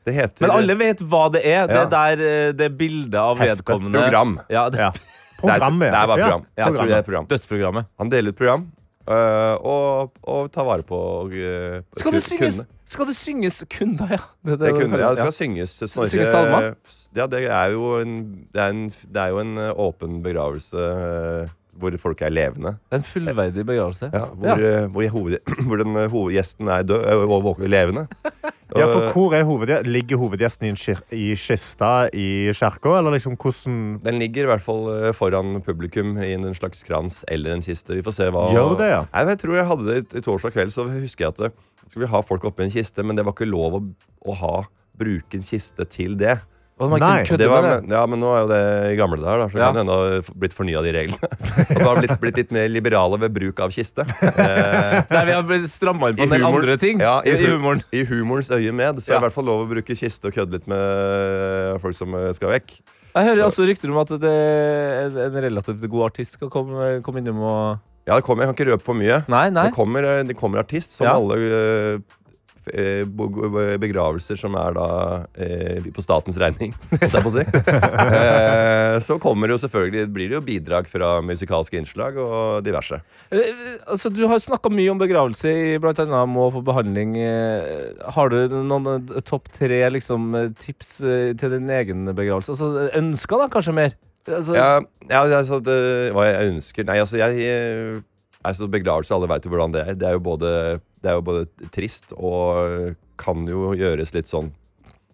Det heter Men alle vet hva det er. Det Ja. er der eh, det er bildet av Hefte. vedkommende. Program. Ja, det, Program, ja. Det er bare program. Ja, Jeg tror det er program. Dødsprogrammet. Han deler ut program øh, og, og tar vare på øh, Skal det kun- synges, kundene. skal det synges kunder, ja? Det, kunne, ja, det skal synges. Snorre- Synge Ah. salmer? Ja, det er jo en, det er en, det er jo en øh, åpen begravelse øh, hvor folk er levende. En fullverdig begravelse. Ja, hvor, øh, hvor, hoved, hvor den øh, hovedgjesten er død øh, og våken levende. Ja, for Og- hvor er hovedgje- Ligger hovedgjesten i, en kir i kista i kirka, eller liksom hvordan Den ligger i hvert fall eh, foran publikum i en slags krans eller en kiste. Vi får se hva Gjør det, ja. Nei, men jeg tror jeg hadde det i- i torsdag kveld, så husker jeg at det skulle vi ha folk oppi en kiste, men det var ikke lov å, å ha bruke en kiste til det. Og man kunne Nei. kødde det var, med det. ja, men nå er jo det i gamle dager, da, så Ja. kan det hende det har blitt fornya de reglene. At det har blitt, blitt litt mer liberale ved bruk av kiste. Eh, Der vi har stramma inn på en del humor- andre ting. Ja, i, I hu- humoren. I humorens øye med, så er det i hvert fall lov å bruke kiste og kødde litt med folk som eh, skal vekk. Jeg hører også rykter om at det en en relativt god artist skal komme, komme innom og Ja, det kommer, jeg kan ikke røpe for mye. Det, kommer, eh, det kommer artist som Ja. alle eh, f- eh, bo- bo- begravelser som er da eh, på statens regning, holdt jeg på å si. eh, så kommer det jo selvfølgelig blir det jo bidrag fra musikalske innslag og diverse. Eh, Altså, du har snakka mye om begravelse, i blant annet må på behandling. Eh, Har du noen eh, topp tre liksom, eh, tips eh, til din egen begravelse? Altså, Ønsker, da, kanskje mer? Altså, ja, ja, det er sånn at, eh, hva jeg ønsker Nei, altså, jeg eh, altså, Begravelse, alle vet jo hvordan det er. Det er jo både, det er jo både trist og eh, kan jo gjøres litt sånn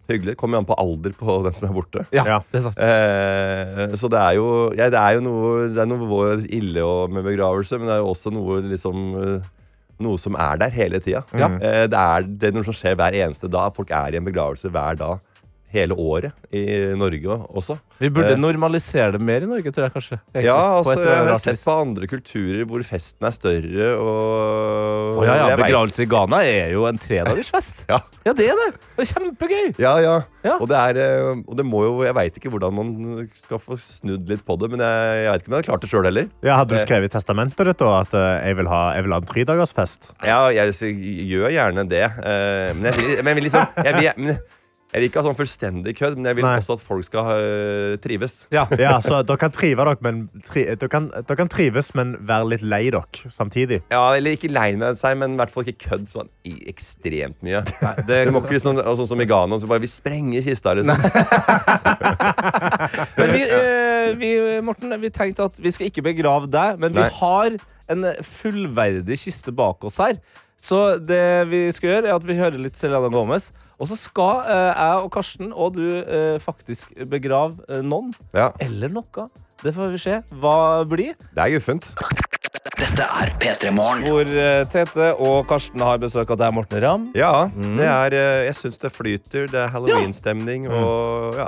hyggelig. Det Kommer jo an på alder på den som er borte. Ja, det er sant. Eh, så det er jo ja, Det er jo noe, det er noe vår ille og- med begravelse, men det er jo også noe liksom eh, noe som er der hele tida. Ja. Eh, Det, er, det er noe som skjer hver eneste dag. Folk er i en begravelse hver dag hele året i Norge også. Vi burde Eh, normalisere det mer i Norge, tror jeg kanskje. egentlig, ja, på altså, et eller jeg har annet sett vis. på andre kulturer hvor festen er større og Å, ja, ja, Jeg vet- Begravelse i Ghana er jo en tredagersfest. ja. ja, det er det! Det er Kjempegøy! Ja, ja. Og, det er, eh, og det må jo Jeg veit ikke hvordan man skal få snudd litt på det, men jeg, jeg veit ikke om jeg hadde klart det sjøl heller. ja, Hadde du Eh, skrevet i testamentet ditt da, at eh, jeg vil ha, jeg vil ha en tredagersfest? Ja, jeg s- gjør gjerne det. eh, Men jeg vil, men jeg vil liksom jeg vil, men jeg vil ikke ha sånn fullstendig kødd, men jeg vil også at folk skal eh, trives. ja, så dere kan, trive, dere, men tri, dere, kan, dere kan trives, men være litt lei dere samtidig. Ja, eller ikke lei med seg, men i hvert fall ikke kødd sånn i ekstremt mye. det, må ikke bli sånn, og sånn som i Ghana, så bare vi sprenger kista, liksom. Men vi, eh, vi, Morten, vi tenkte at vi skal ikke begrave deg, men Nei. vi har en fullverdig kiste bak oss her. Så det vi skal gjøre, er at vi hører litt Selena Gomez. Og så skal eh, jeg og Karsten og du eh, faktisk begrave eh, noen. Ja. Eller noe. Det får vi se hva blir. Det er guffent. Dette er P3 Morgen. Hvor eh, Tete og Karsten har besøk av deg, Morten Ramm. Ja, Mm. det er, eh, jeg syns det flyter. Det er halloweenstemning og ja.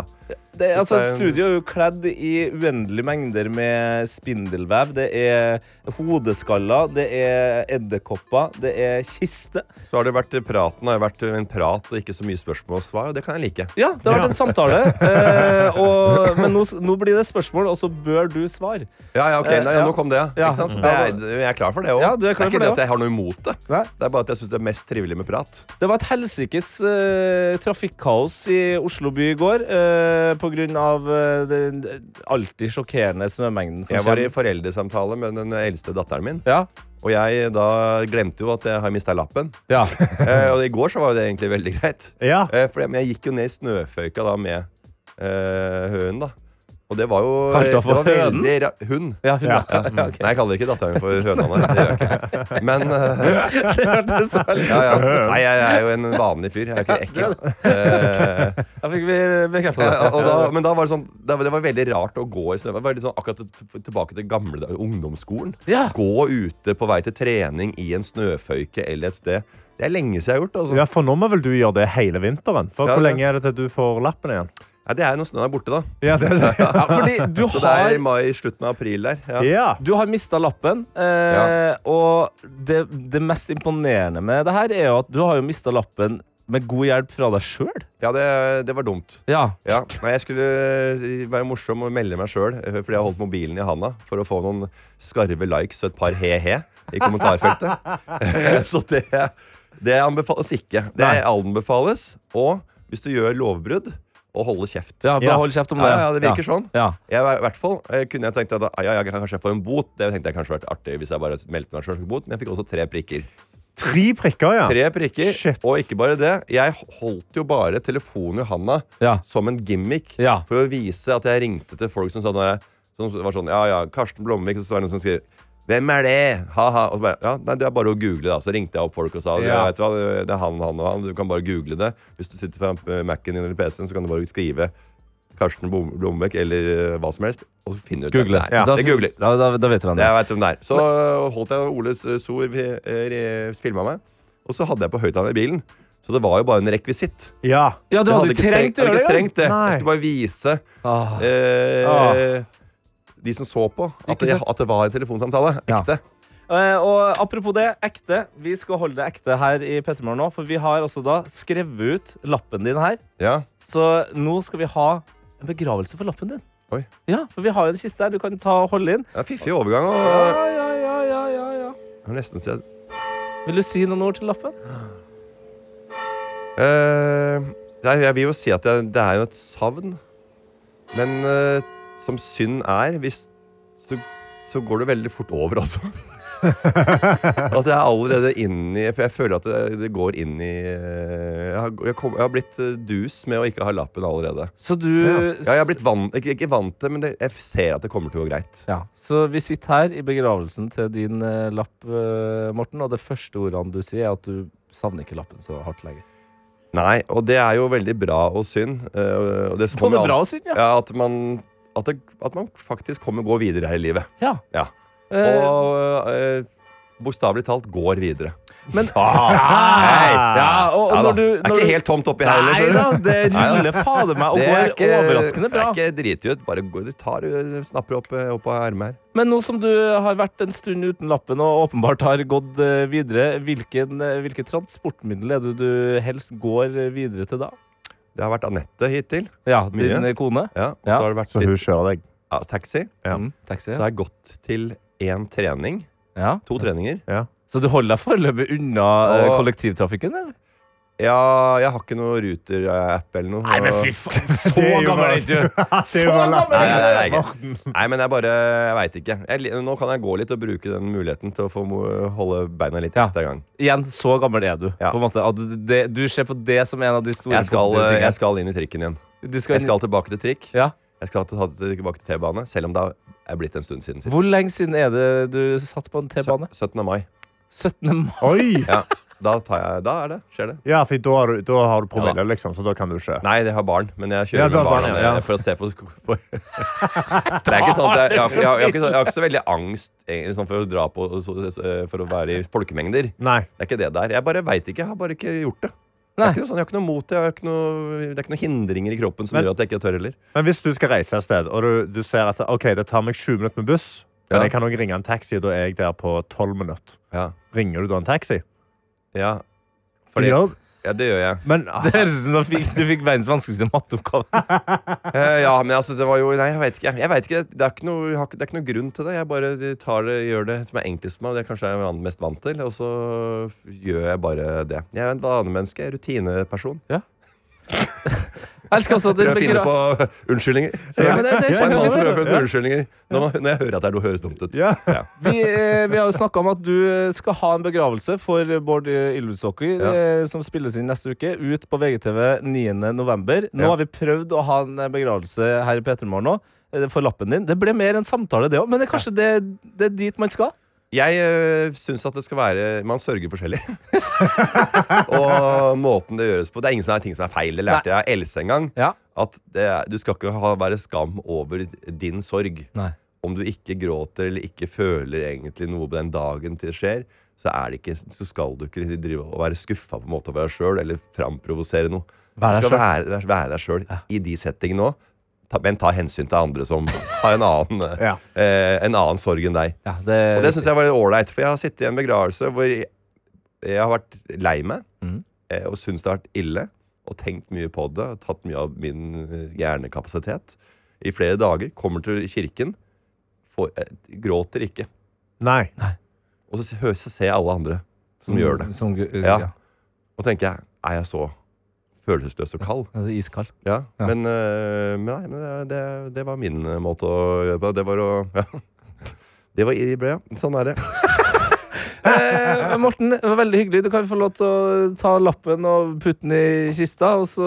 Det, er- altså, Det er en- studio er jo kledd i uendelige mengder med spindelvev. Det er hodeskaller, det er edderkopper, det er kiste. Så har det vært praten har jo vært en prat og ikke så mye spørsmål og svar, og det kan jeg like. Ja, det har vært en samtale. Eh, og, men nå, nå blir det spørsmål, og så bør du svare. Ja, ja, ok, Eh, Nei, ja, Nå kom det, ja. Ja. Ikke sant? Så Ja, det er, jeg er klar for det òg. Ja, du er klar for det er ikke det det at også. jeg har noe imot det. Det er bare at jeg syns det er mest trivelig med prat. Det var et helsikes eh, trafikkaos i Oslo by i går eh, på grunn av eh, den alltid sjokkerende snømengden som Jeg var i kommer. foreldresamtale med den eldste datteren min. Ja. Og jeg da glemte jo at jeg har mista lappen. Ja. eh, og i går så var jo det egentlig veldig greit. Ja. Eh, for jeg, men jeg gikk jo ned i snøføyka da med eh, hønen, da. Og det var jo eh, Kalte hun for det var hønen? veldig ra- Hun. Ja, hun, ja. Ja, ok. Nei, jeg kaller ikke datteren min for høna. Nei, det gjør jeg ikke. Men eh, Det hørtes veldig ja, ja. sånn ut. Nei, jeg er jo en vanlig fyr. Jeg er ikke ekkel. Eh, Da fikk vi bekrefta det. ja, og da, men da var det sånn det var, det var veldig rart å gå i snø. Det var litt sånn akkurat t- tilbake til gamle dager, ungdomsskolen. Gå ute på vei til trening i en snøføyke eller et sted. Det er lenge siden jeg har gjort. Altså. Ja, for nå må vel du gjøre det hele vinteren? For Ja, Hvor ja. lenge er det til du får lappen igjen? Ja, det er jo når snøen er borte, da. Ja, det er det. Ja, fordi du Så det har- er i mai, slutten av april der. Du har mista lappen, eh, og det, det mest imponerende med det her er jo at du har jo mista lappen med god hjelp fra deg sjøl. Ja, det, det var dumt. Ja. Men jeg skulle eh, være morsom og melde meg sjøl, fordi jeg holdt mobilen i handa for å få noen skarve likes og et par he-he i kommentarfeltet. Så det, det anbefales ikke. Det Nei. anbefales, og hvis du gjør lovbrudd, å holde kjeft. Ja, bare hold kjeft om det. Ja, ja, det virker Ja. sånn. Ja. Jeg, var- i hvert fall eh, kunne jeg tenkt at ah, ja, ja, kanskje jeg får en bot. Det tenkte jeg kanskje vært artig hvis jeg bare meldte meg sjøl for bot, men jeg fikk også tre prikker. Tre prikker, ja. Tre prikker. Og ikke bare det. Jeg holdt jo bare telefonen i handa som en gimmick for å vise at jeg ringte til folk som sa når jeg, som var sånn Ja, ja, Karsten Blomvik. Og så var det noen som skrev hvem er det? Ha-ha. Og så bare, ja, nei, det er bare å google, da. Så ringte jeg opp folk og sa ja. Ja. vet du hva, det er han, han og han. Du kan bare google det. Hvis du sitter foran eh, Mac-en din eller PC-en, så kan du bare skrive Karsten Blom- Blomvik eller eh, hva som helst, og så finner du ut hvem Google. det. er. Da, Det googler. da, da, da vet du hvem det Jeg er. vet hvem det er. Så øh, holdt jeg Ole Sor filma eh, meg, og så hadde jeg på høyttaler i bilen. Så det var jo bare en rekvisitt. Ja. Så jeg ikke trengt- hadde ikke trengt det. Nei. Jeg skulle bare vise Ah. eh, de som så på, at Ikke det, sant? at det var en telefonsamtale. Ekte. Eh, og apropos det, ekte. Vi skal holde det ekte her i Pettermorgen nå, for vi har altså da skrevet ut lappen din her. Ja. Så nå skal vi ha en begravelse for lappen din. Oi. Ja, for vi har jo en kiste her du kan ta og holde inn. Ja, fiffig overgang. Og, Ja, ja, ja, ja, ja, ja. Jeg har nesten sett Vil du si noen ord til lappen? Eh, nei, jeg vil jo si at det, det er jo et savn. Men eh, som synd er, hvis, så, så går det veldig fort over også. altså jeg er allerede inn i For jeg føler at det, det går inn i eh, jeg har, jeg, kom, jeg har blitt eh, dus med å ikke ha lappen allerede. Så du- ja. ja, jeg har blitt vant, ikke, ikke vant til men det, jeg ser at det kommer til å gå greit. Så vi sitter her i begravelsen til din eh, lapp, eh, Morten, og det første ordene du sier, er at du savner ikke lappen så hardt lenger. Nei, og det er jo veldig bra og synd. eh, og det som Både kommer an- bra og synd, ja. at, man, at, det, at man faktisk kommer gå videre her i livet. Ja. Eh. Og eh, bokstavelig talt går videre. Men Ah. Hei! Ja, og- og da. når du- Det når er du- ikke helt tomt oppi her Nei da, det ruller fader meg og går overraskende bra. Det er ikke driti ut. Bare gå, du tar, du snapper opp, eh, opp av ermet her. Men nå som du har vært en stund uten lappen og åpenbart har gått eh, videre, hvilken, eh, hvilket transportmiddel er det du helst går eh, videre til da? Det har vært Anette hittil. Ja, din eh, kone. Ja, og Ja. Så, har det vært Så hun kjører deg? Ja, taxi. Mm, taxi, ja. Så har jeg gått til én trening. To treninger. Så du holder deg foreløpig unna eh, Og- kollektivtrafikken? Eller? Ja, jeg har ikke noe eh, Ruter-app eller noe. Nei, men fy faen, så Det er jo gammel er bare- ikke du. Så Det er jo bare gammel lappen. Nei, nei, nei, nei, ikke. nei, men jeg bare Jeg veit ikke. Jeg, li- nå kan jeg gå litt og bruke den muligheten til å få mo- holde beina litt ekstra gang. Igjen, så gammel er du. På en måte. At du- det, du ser på det som en av de store Jeg skal, positive tingene. jeg skal inn i trikken igjen. Du skal jeg inn- skal tilbake til trikk. Ja. Jeg skal ta- tilbake til T-bane, selv om det er blitt en stund siden sist. Hvor lenge siden er det du satt på en T-bane? 17. mai. 17. mai. Oi! Ja, da, tar jeg, da er det. Skjer det. Ja, for da har du, da har du promille, liksom, så da kan du ikke Nei, jeg har barn, men jeg kjører Ja, du med har barn, barna ja. mine for å se på sko- på- Det er ikke sånn at jeg, jeg, har- jeg, har- jeg, har ikke så- jeg har ikke så veldig angst egentlig, sånn for å dra på så- så- For å være i folkemengder. Nei. Det er ikke det der. Jeg bare veit ikke. Jeg har bare ikke gjort det. Det er ikke noe sånn, jeg har ikke noe mot det. Jeg har ikke noe, det er ikke noen hindringer i kroppen som Men- gjør at jeg ikke tør heller. Men hvis du skal reise et sted, og du, du ser at ok, det tar meg 20 minutter med buss, men jeg kan også ringe en taxi, og da er jeg der på 12 minutter. Ja. Ringer du da en taxi? Ja. Fordi, Fordi- da, Ja, det gjør jeg. det høres ut som du fikk, du fikk verdens vanskeligste matteoppgave. Eh, ja, men altså, det var jo Nei, jeg vet ikke. Jeg vet ikke det, er ikke noe, jeg har ikke- det er ikke noe grunn til det. Jeg bare tar det, gjør det som er enklest for meg, og det er kanskje jeg er van- mest vant til. Og så gjør jeg bare det. Jeg er en vanemenneske. jeg er Rutineperson. Ja. elsker også at det Prøver å finne begra- på unnskyldninger. Ja, men det- det- På en måte prøver jeg å finne på Ja. unnskyldninger når, man, når jeg hører at det er noe høres dumt ut. Ja. Vi, eh, vi har jo snakka om at du eh, skal ha en begravelse for Bård eh, Ylvisåker, Ja. eh, som spilles inn neste uke, ut på VGTV 9. november. Nå Ja. har vi prøvd å ha en eh, begravelse her i P3morgen òg, eh, for lappen din. Det ble mer en samtale, det òg, men det er kanskje det, det er dit man skal? Jeg øh, syns at det skal være Man sørger forskjellig. og måten det gjøres på. Det er ingen som er ting som er feil. Det lærte jeg av Else en gang. At det, er- du skal ikke ha, være skam over din sorg. Nei. Om du ikke gråter eller ikke føler egentlig noe på den dagen det skjer, så, er det ikke, så skal du ikke drive og være skuffa på en måte over deg sjøl eller framprovosere noe. Vær du deg skal selv. være, være deg sjøl i de settingene òg. Men ta hensyn til andre som har en annen, eh, eh, en annen sorg enn deg. Og det syns jeg var litt ålreit, for jeg har sittet i en begravelse hvor jeg, jeg har vært lei meg Mm. eh, og syns det har vært ille, og tenkt mye på det, og tatt mye av min eh, hjernekapasitet i flere dager. Kommer til kirken, får, eh, gråter ikke. Nei. Og så, se- hø- så ser jeg alle andre som, Som- gjør det. som gu- ja. ja. Og tenker jeg, er jeg så følelsesløs og kald? Altså, iskald. Ja, Men, eh, men nei, men det, det, det var min eh, måte å gjøre på. Det var å ja. Det var i ble, ja. Sånn er det. Eh, Morten, det var veldig hyggelig. Du kan få lov til å ta lappen og putte den i kista, og så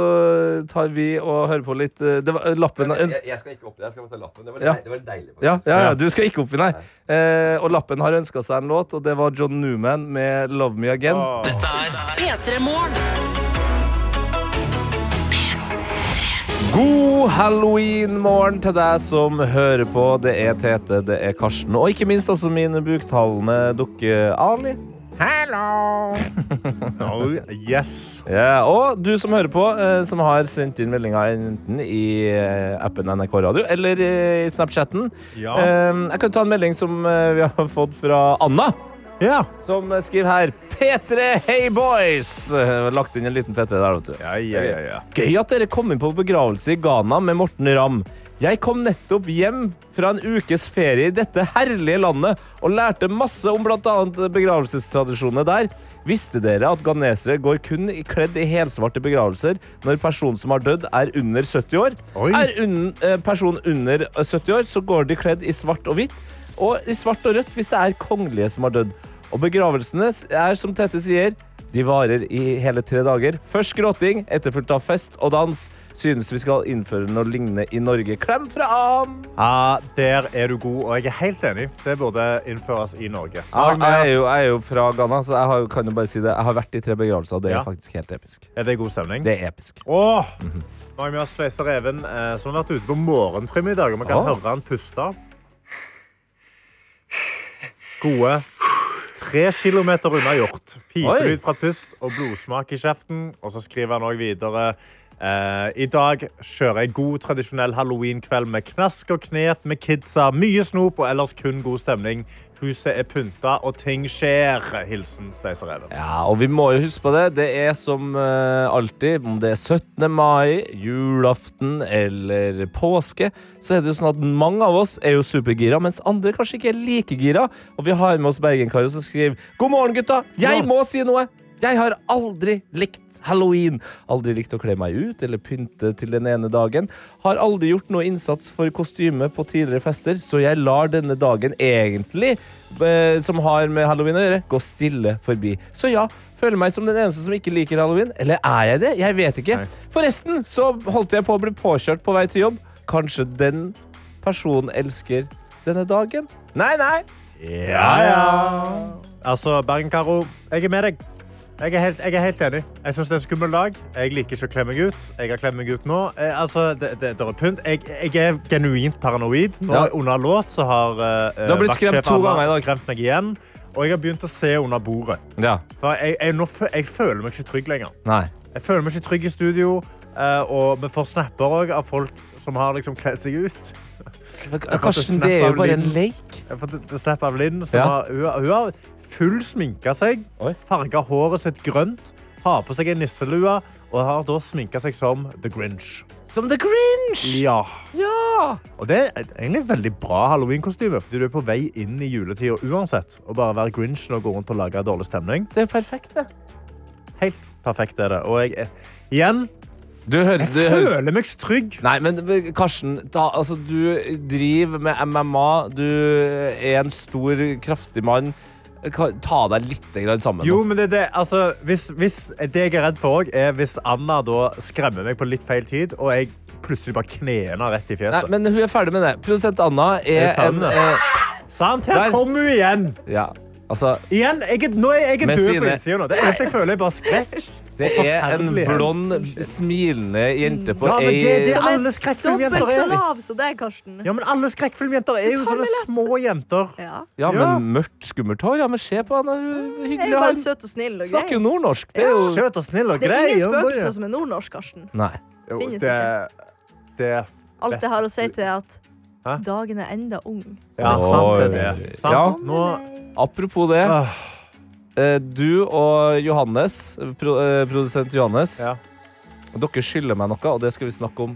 tar vi og hører på litt eh, det var, eh, lappen, Jeg, jeg skal ikke opp, jeg skal bare ta lappen. Det var, Ja. dei- det var deilig. Ja, ja, ja, du skal ikke oppi, nei. Eh, og lappen har ønska seg en låt, og det var John Newman med 'Love Me Again'. Dette er P3 Morgen. God halloween-morgen til deg som hører på. Det er Tete, det er Karsten, og ikke minst også min buktalende dukke Ali. Hello! Oh, yes. Ja, og du som hører på, eh, som har sendt inn meldinger enten i eh, appen NRK Radio eller eh, i Snapchatten. Ja. Eh, jeg kan ta en melding som eh, vi har fått fra Anna. Som eh, skriver her P3 Hey Boys! Eh, Lagt inn en liten P3 der, vet du. ja, ja. Gøy at dere kom inn på begravelse i Ghana med Morten Ramm. Jeg kom nettopp hjem fra en ukes ferie i dette herlige landet og lærte masse om bl.a. begravelsestradisjonene der. Visste dere at ghanesere går kun i- kledd i helsvarte begravelser når personen som har dødd, er under 70 år? Er un eh, personen under 70 år, så går de kledd i svart og hvitt, og i svart og rødt hvis det er kongelige som har dødd. Og begravelsene er, som Tete sier, de varer i hele tre dager. Først gråting, etterfulgt av fest og dans. Synes vi skal innføre noe lignende i Norge. Klem fra Am! Ja, der er du god, og jeg er helt enig. Det burde innføres i Norge. Ja, jeg, er jo, jeg er jo fra Ghana, så jeg har, kan jo bare si det. Jeg har vært i tre begravelser, og det er Ja. faktisk helt episk. Er det god stemning? Det er episk. Åh! Nå har vi med oss Sveiser Even, eh, som har vært ute på morgentrim i dag. Og man kan Åh. høre han puste. Gode tre kilometer unna hjort. Pipelyd fra pust og blodsmak i kjeften. Og så skriver han også videre eh, I dag kjører jeg god tradisjonell halloweenkveld med knask og knep med kidsa, mye snop og ellers kun god stemning. Huset er pynta, og ting skjer. Hilsen Sveiser Even. Ja, og vi må jo huske på det. Det er som eh, alltid, om det er 17. mai, julaften eller påske, så er det jo sånn at mange av oss er jo supergira, mens andre kanskje ikke er like gira. Og vi har med oss Bergenkarer som skriver God morgen, gutta! Jeg må si noe! Jeg har aldri likt Halloween. Aldri likt å kle meg ut eller pynte til den ene dagen. Har aldri gjort noe innsats for kostyme på tidligere fester, så jeg lar denne dagen egentlig, eh, som har med halloween å gjøre, gå stille forbi. Så ja, føler meg som den eneste som ikke liker halloween. Eller er jeg det? Jeg vet ikke. Forresten så holdt jeg på å bli påkjørt på vei til jobb. Kanskje den personen elsker denne dagen? Nei, nei. Ja, ja. Altså, Bergen-Caro, jeg er med deg. Jeg er helt, jeg er helt enig. Jeg synes det er en skummel dag. Jeg liker ikke å kle meg ut. Jeg har kledd meg ut nå. Eh, altså, det, det, det er pynt. Jeg, jeg er genuint paranoid. Nå Ja. under låt så har eh, Du har blitt vaktsjef skremt to Anna ganger i dag. skremt meg igjen. Og jeg har begynt å se under bordet. Ja. For jeg, jeg, nå, fø- jeg føler meg ikke trygg lenger. Nei. Jeg føler meg ikke trygg i studio. eh, og vi får snapper også av folk som har liksom kledd seg ut. Karsten, det er jo bare en lek. Jeg har fått et snap av Linn. Som Ja. har, hun, har- hun har full sminka seg, farga håret sitt grønt, har på seg en nisselue og har da sminka seg som The Grinch. Som The Grinch! Ja. Ja! Og det er egentlig et veldig bra halloweenkostyme, fordi du er på vei inn i juletida uansett. Og bare være Grinchen og gå rundt og lage dårlig stemning. Det er perfekt, det. Helt perfekt er det. Og jeg er- igjen høres- Jeg det høres- føler meg så trygg. Nei, men men Karsten, ta, altså, du driver med MMA. Du er en stor, kraftig mann. Ka- Ta deg litt grann sammen. nå. Jo, men det, er det, altså, hvis, hvis, det jeg er redd for òg, er hvis Anna da skremmer meg på litt feil tid, og jeg plutselig bare knener rett i Nei, fjeset. men hun er ferdig med det. Produsent Anna er, Jeg er ferdig en med det. eh, Sant? Her Der. kommer hun igjen. Ja, altså Igjen, jeg, er- nå er jeg er Med død på sine- innsida nå. Det eneste jeg føler, er bare skrekk. Det er en Forferdelig. blond, smilende jente på Ja, men det, det ei er alle Du har skrekkfilmjenter sett er. slav som deg, Karsten. Ja, men alle skrekkfilmjenter er jo sånne små jenter. Ja. Ja, men mørkt, skummelt hår. Ja, men se på henne. Hun er Jeg hyggelig. er bare Hun søt og snill og grei. Snakker jo nordnorsk. Det er jo Ja. Søt og snill og Det er grei. ingen hun bare- spøkelser som er nordnorsk, Karsten. Nei. Jo, Finnes det, det Alt jeg har å si til det, er at Hæ? dagen er enda ung. Ja, sant det er det. Sant. Ja. Nå- Apropos det. eh, Du og Johannes, pro eh, produsent Johannes, dere skylder meg noe, og det skal vi snakke om.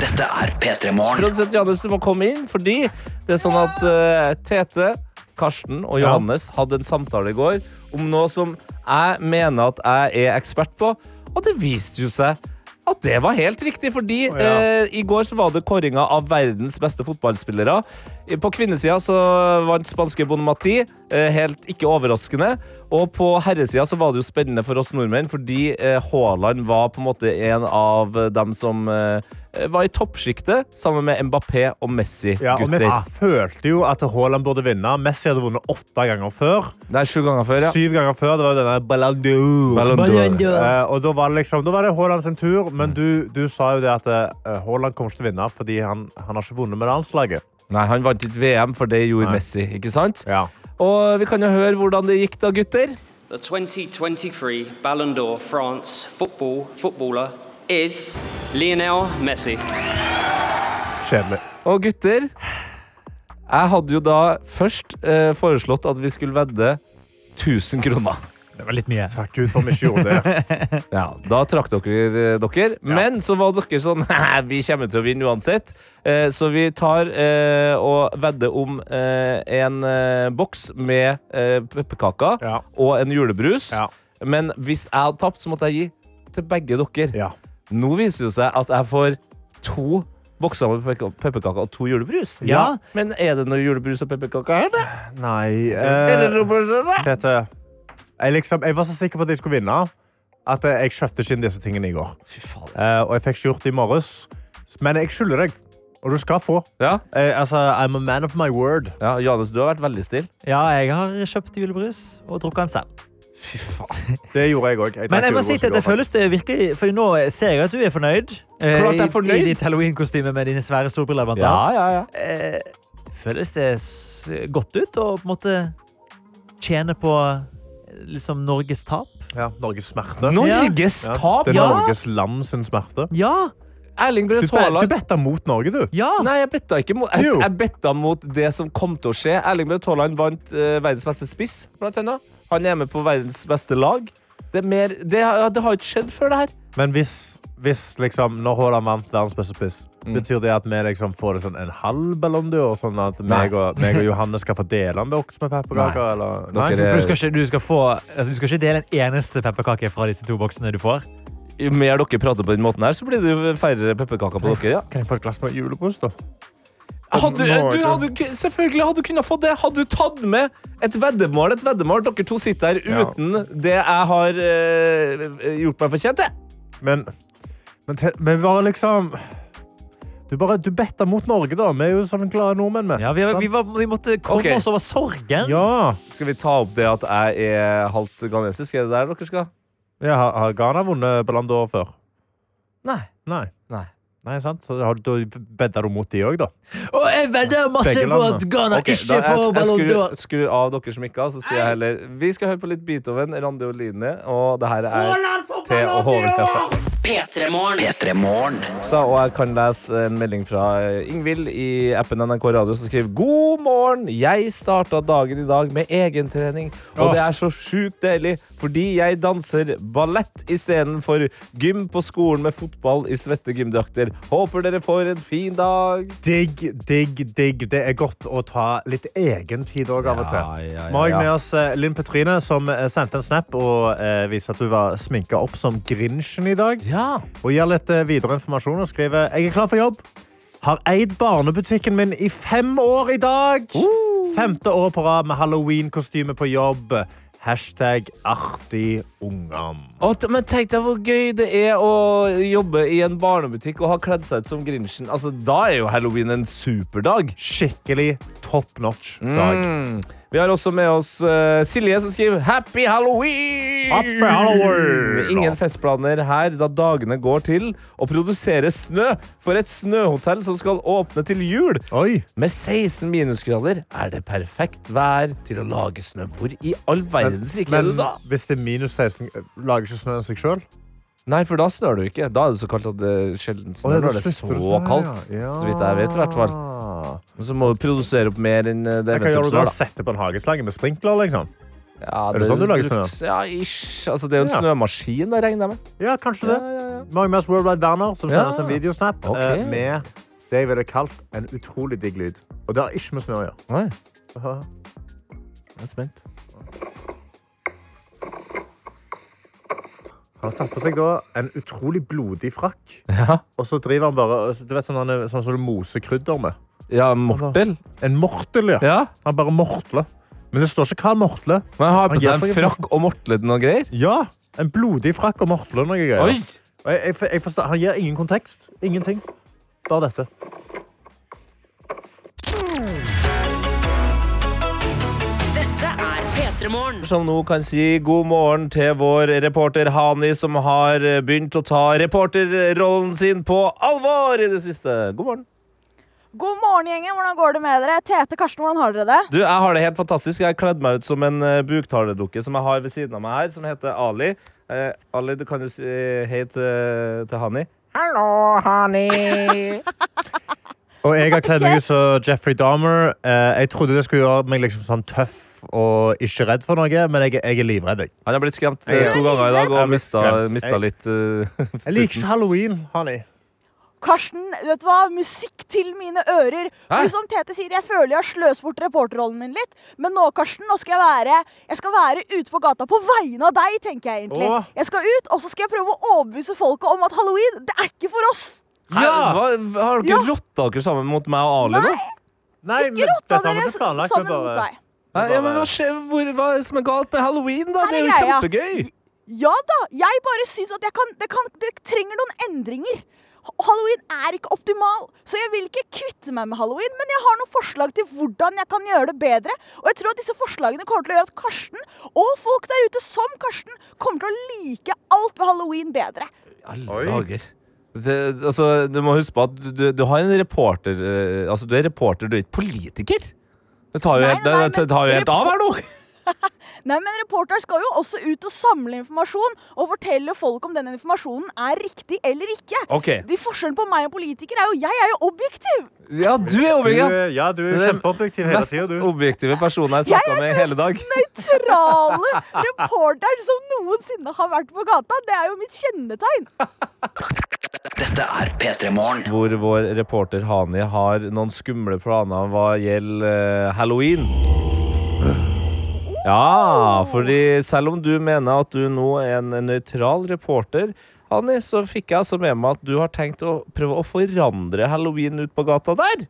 Dette er P3 Morgen. Produsent Johannes, du må komme inn, fordi det er sånn at eh, Tete, Karsten og Johannes hadde en samtale i går om noe som jeg mener at jeg er ekspert på, og det viste jo seg at det var helt riktig, fordi eh, i går så var det kåringa av verdens beste fotballspillere. Eh, På kvinnesida så vant spanske Bonamati, eh, helt ikke overraskende. Og på herresida så var det jo spennende for oss nordmenn, fordi eh, Haaland var på en måte en av dem som eh, var i toppsjiktet, sammen med Mbappé og Messi. Ja, og vi gutter. følte jo at Haaland burde vinne. Messi hadde vunnet åtte ganger før. Nei, sju ganger før, ja. Syv ganger før, Det var jo denne Ballon d'Or. Ballon d'Or. Ballon d'Or. Eh, og da var det liksom, da var det Haaland sin tur, men du, du sa jo det at eh, Haaland kommer ikke til å vinne fordi han, han har ikke vunnet med landslaget. Nei, han vant ikke VM, for det gjorde Nei. Messi, ikke sant? Ja. Og vi kan jo høre hvordan det gikk da, gutter. The 2023 Ballon d'Or France football footballer is Lionel Messi. Kjedelig. Og gutter, jeg hadde jo da først eh, foreslått at vi skulle vedde 1000 kroner. Det var litt mye. Takk Gud for vi ikke gjorde det. Ja, da trakk dere eh, dere. Men så var dere sånn «Hæ, Vi kommer til å vinne uansett. Eh, så vi tar eh, og vedder om eh, en eh, boks med eh, pepperkaker og en julebrus. Men hvis jeg hadde tapt, så måtte jeg gi til begge dere. Nå viser det seg at jeg får to bokser med pepperka- pepperkaker og to julebrus. Ja. Men er det noe julebrus og pepperkaker her, da? Nei eh, Er det noe på- Tete, jeg, liksom, jeg var så sikker på at jeg skulle vinne at eh, jeg kjøpte ikke inn disse tingene i går. Eh, og jeg fikk ikke gjort det i morges. Men jeg skylder deg. Og du skal få. Eh, altså, I'm a man of my word. Ja, Johannes, du har vært veldig stille. Ja, jeg har kjøpt julebrus og drukket den selv. Det gjorde jeg òg. Men jeg må si at det føles det virkelig Fordi nå ser jeg at du er fornøyd. eh, Klart jeg er fornøyd. I, i ditt Halloween-kostyme med dine svære solbriller, blant Ja, annet. ja, ja. Eh, føles det s godt ut å på en måte tjene på eh, liksom Norges tap? Ja, Norges smerte. Norges Ja. tap, Det er ja. Norges land sin smerte. Ja! Erling Du, ah. Braut bet- du Haaland betta mot Norge, du. Nei, jeg betta ikke mot jeg, jeg betta mot det som kom til å skje. Erling Braut Haaland vant eh, verdens beste spiss, blant annet. Han er med på verdens beste lag. Det, er mer, det, har- det har ikke skjedd før, det her. Men hvis, hvis liksom, når Haaland vant verdens beste spiss, Mm. betyr det at vi liksom får det sånn en halv ballong d'or? Sånn at meg og, meg og Johannes skal få dele en boks med pepperkaker? eller- Nei, så så- for du, skal ikke, du, skal få, altså, du skal ikke dele en eneste pepperkake fra disse to boksene du får? Jo mer dere prater på den måten her, så blir det jo færre pepperkaker på dere. Ja. Kan jeg få et glass med julebrus, da? Hadde, Nå- du, hadde, k- selvfølgelig hadde du kunnet få det. Hadde du tatt med et veddemål? Et veddemål. Dere to sitter her uten det jeg har eh, gjort meg fortjent til. Men, men, te- men bare liksom Du, bare, du betta mot Norge, da. Vi er jo sånne glade nordmenn. Med, Ja, vi, vi, var, vi måtte komme Ok. oss over sorgen. Ja. Skal vi ta opp det at jeg er halvt ghanesisk? Er det der dere skal? Eh, Ja, har, har Ghana vunnet Ballon d'Or før? Nei. Nei. Nei. Nei, sant? Så har, da bedda du mot de òg, da. Og jeg vedder Begge landene. Ok, da jeg- jeg skrur- Skru av dere som ikke har, så sier jeg heller Vi skal høre på litt Beethoven, Randi og Line, og det her er Haaland får T Ballon d'Or! og Hovenkaffe. P3-morgen. Så, og jeg kan lese en melding fra eh, Ingvild i appen NRK Radio som skriver God morgen! Jeg starta dagen i dag med egentrening, og Åh. det er så sjukt deilig fordi jeg danser ballett istedenfor gym på skolen med fotball i svette gymdrakter. Håper dere får en fin dag. Digg, digg, digg. Det er godt å ta litt egen tid òg av og til. Vi ja, har ja. med oss eh, Linn Petrine, som eh, sendte en snap og eh, viste at du var sminka opp som Grinchen i dag. Og gir litt eh, videre informasjon og skriver Jeg er klar for jobb. Har eid barnebutikken min i fem år i dag. Uh. Femte år på rad med halloweenkostyme på jobb. Hashtag artig ungdom. Å, t- men tenk deg hvor gøy det er å jobbe i en barnebutikk og ha kledd seg ut som Grinchen. Altså, da er jo halloween en superdag. Skikkelig top notch dag. Vi har også med oss eh, Silje, som skriver 'Happy Halloween'. Happy Halloween! Ingen festplaner her, da dagene går til å produsere snø for et snøhotell som skal åpne til jul. Med 16 minusgrader er det perfekt vær til å lage snø. Hvor i all verdens rike er det da? hvis det er minus 16, lager ikke snøen seg sjøl? Nei, for da snør det jo ikke. Da er det så kaldt at det sjelden Å, snør. ja, da Da er det så slutter det å snø, ja. kaldt, Ja. så vidt jeg vet, i hvert fall. Men Så må du produsere opp mer enn eh, det Hva gjør eventuelt du da? snør, da. Sette på en hageslange med sprinkler, liksom? Ja, er det sånn du lager brukt- snø? Ja, ish. Altså, det er jo en Ja. snømaskin, jeg regner jeg med. Ja, kanskje det. Mange med oss Worldwide Werner som Ja. sender oss en videosnap Ok. eh, med det jeg ville kalt en utrolig digg lyd. Og det har ikke med snø å gjøre. Nei. Aha. Jeg er spent. Han har tatt på seg da en utrolig blodig frakk. Ja. Og så driver han bare Du vet sånn, han er, sånn som du moser krydder med? Ja, mortel. En mortel, ja. Han bare mortler. Men det står ikke hva han mortler. Men han har på gir seg en ikke- frakk og mortlet noe greier. Ja, en blodig frakk og mortler noe greier. Oi! Og jeg, jeg, jeg forstår, han gir ingen kontekst. Ingenting. Bare dette. Dette er P3-morgen. Som nå kan si god morgen til vår reporter Hani, som har eh, begynt å ta reporterrollen sin på alvor i det siste. God morgen. God morgen, gjengen. Hvordan går det med dere? Tete, Karsten, hvordan har dere det? Du, Jeg har det helt fantastisk. Jeg har kledd meg ut som en eh, buktaledukke som jeg har ved siden av meg her, som heter Ali. Eh, Ali, du kan jo si hei til, til Hani. Hallo, honey. Og jeg har kledd meg ut som Jeffrey Dahmer. Eh, jeg trodde det skulle gjøre meg liksom sånn tøff og ikke redd for noe, men jeg, jeg er livredd. Jeg. Han har blitt skremt Jeg er eh, to ganger i dag livredd. og mista, Jeg er mista skremt. litt eh, Jeg liker ikke halloween, Hani. Karsten, vet du hva? Musikk til mine ører. Hæ? For som Tete sier, jeg føler jeg har sløst bort reporterrollen min litt. Men nå, Karsten, nå skal jeg være Jeg skal være ute på gata på vegne av deg, tenker jeg egentlig. Åh. Jeg skal ut, og så skal jeg prøve å overbevise folket om at halloween, det er ikke for oss. Hæ? Hva, har dere rotta dere sammen mot meg og Ali nå? Nei, Ikke rotta dette har vi dere ikke planlagt, sammen vi bare- mot deg. Nei, ja, men hva, skjer, hvor, hva er det som er galt med halloween, da? Her Det er jo jeg, ja. kjempegøy! Ja da, jeg bare syns at jeg kan, det kan Det trenger noen endringer. Ha- Halloween er ikke optimal, så jeg vil ikke kvitte meg med halloween, men jeg har noen forslag til hvordan jeg kan gjøre det bedre. Og jeg tror at disse forslagene kommer til å gjøre at Karsten, og folk der ute som Karsten, kommer til å like alt ved halloween bedre. Alle dager. Det, altså, du må huske på at du, du har en reporter eh, Altså, du er reporter, du er ikke politiker. Det tar jo helt, det, det tar jo helt av her nå! Nei, men reporteren skal jo også ut og samle informasjon og fortelle folk om den informasjonen er riktig eller ikke. Ok. De Forskjellen på meg og politiker er jo jeg er jo objektiv. Ja, du er objektiv. Du er- ja, du er kjempeobjektiv hele tiden, Mest objektive personen jeg har Jeg snakka er med i hele dag. nøytrale reporteren som noensinne har vært på gata. Det er jo mitt kjennetegn. Dette er P3-morgen. Hvor vår reporter Hani har noen skumle planer hva gjelder eh, halloween. Ja, fordi selv om du mener at du nå er en nøytral reporter, Hani, så fikk jeg altså med meg at du har tenkt å prøve å forandre halloween ut på gata der.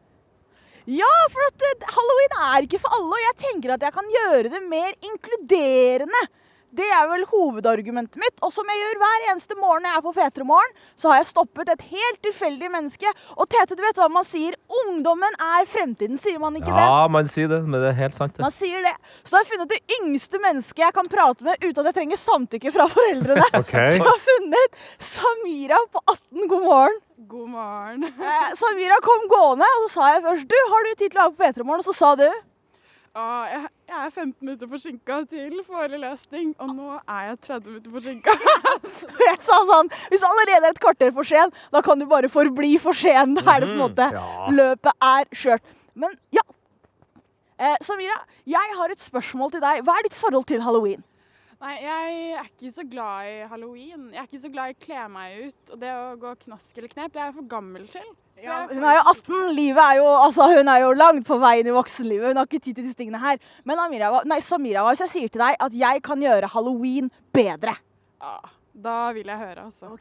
Ja, for at eh, halloween er ikke for alle, og jeg tenker at jeg kan gjøre det mer inkluderende. Det er vel hovedargumentet mitt. Og som jeg gjør hver eneste morgen jeg er på P3 Morgen, så har jeg stoppet et helt tilfeldig menneske. Og Tete, du vet hva man sier? Ungdommen er fremtiden, sier man ikke det? Ja, man sier det, men det er helt sant. det. Man sier det. Så da har jeg funnet det yngste mennesket jeg kan prate med uten at jeg trenger samtykke fra foreldrene. Ok. Så jeg har funnet Samira på 18. God morgen. God morgen. Eh, Samira kom gående, og så sa jeg først Du, har du tid til å være på P3 Morgen? Og så sa du Ah, jeg, jeg er 15 minutter forsinka til forelesning, og nå er jeg 30 minutter forsinka. Og jeg sa sånn Hvis du allerede er et kvarter for sen, da kan du bare forbli for sen. Da er det Mm, på en Mhm, måte ja. Løpet er skjørt. Men ja. Eh, Samira, jeg har et spørsmål til deg. Hva er ditt forhold til halloween? Nei, jeg er ikke så glad i halloween. Jeg er ikke så glad i å kle meg ut. Og det å gå knask eller knep, det er jeg for gammel til. Så jeg, Hun er jo 18, livet er jo, altså, hun er jo langt på veien i voksenlivet. Hun har ikke tid til disse tingene her. Men Amira, hva- nei, Samira, hva hvis jeg sier til deg at jeg kan gjøre halloween bedre? ah, da vil jeg høre, altså.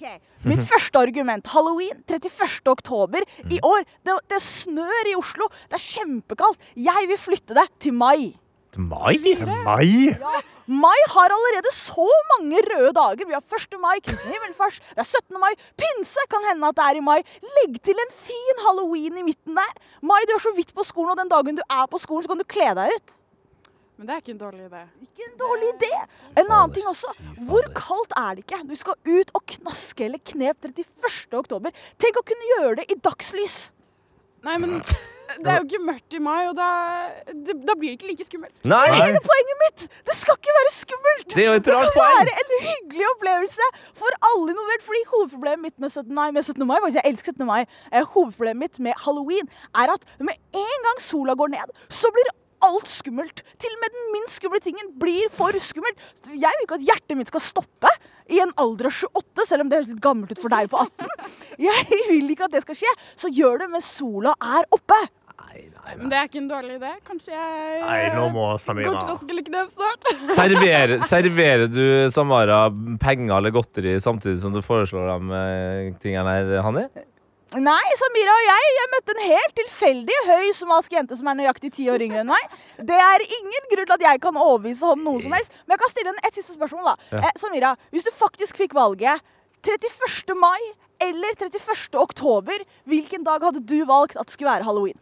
Mitt første argument. Halloween 31. oktober i år. Det, det snør i Oslo. Det er kjempekaldt. Jeg vil flytte det til mai. Til mai? Til mai? Ja. Mai har allerede så mange røde dager. Vi har 1. mai, Kristi himmelfars, det er 17. mai, pinse kan hende at det er i mai. Legg til en fin halloween i midten der. Mai, du er så vidt på skolen, og den dagen du er på skolen, så kan du kle deg ut. Men det er ikke en dårlig idé. Ikke en dårlig idé. En annen ting også. Hvor kaldt er det ikke? Du skal ut og knaske eller knep 31. oktober. Tenk å kunne gjøre det i dagslys. Nei, men det er jo ikke mørkt i mai, og da, det, da blir det ikke like skummelt. Nei. Det er hele poenget mitt! Det skal ikke være skummelt! Det er jo et rart kan poeng. være en hyggelig opplevelse for alle involvert. Fordi hovedproblemet mitt med 17. Nei, med 17. mai faktisk, Jeg elsker 17. mai. Eh, hovedproblemet mitt med halloween er at med en gang sola går ned, så blir alt skummelt. Til og med den minst skumle tingen blir for skummelt. Jeg vil ikke at hjertet mitt skal stoppe i en alder av 28, selv om det høres litt gammelt ut for deg på 18. Jeg vil ikke at det skal skje. Så gjør det mens sola er oppe. Men det er ikke en dårlig idé. Kanskje jeg Nei, nå må Samira. går knask eller knep snart. Server, serverer du Samara penger eller godteri samtidig som du foreslår de eh, tingene her, Hanni? Nei, Samira og jeg, jeg møtte en helt tilfeldig høy somalisk jente som er nøyaktig ti år yngre enn meg. Det er ingen grunn til at jeg kan overbevise ham om noe som helst. Men jeg kan stille henne et siste spørsmål, da. Ja. Eh, Samira, hvis du faktisk fikk valget 31. mai eller 31. oktober, hvilken dag hadde du valgt at det skulle være halloween?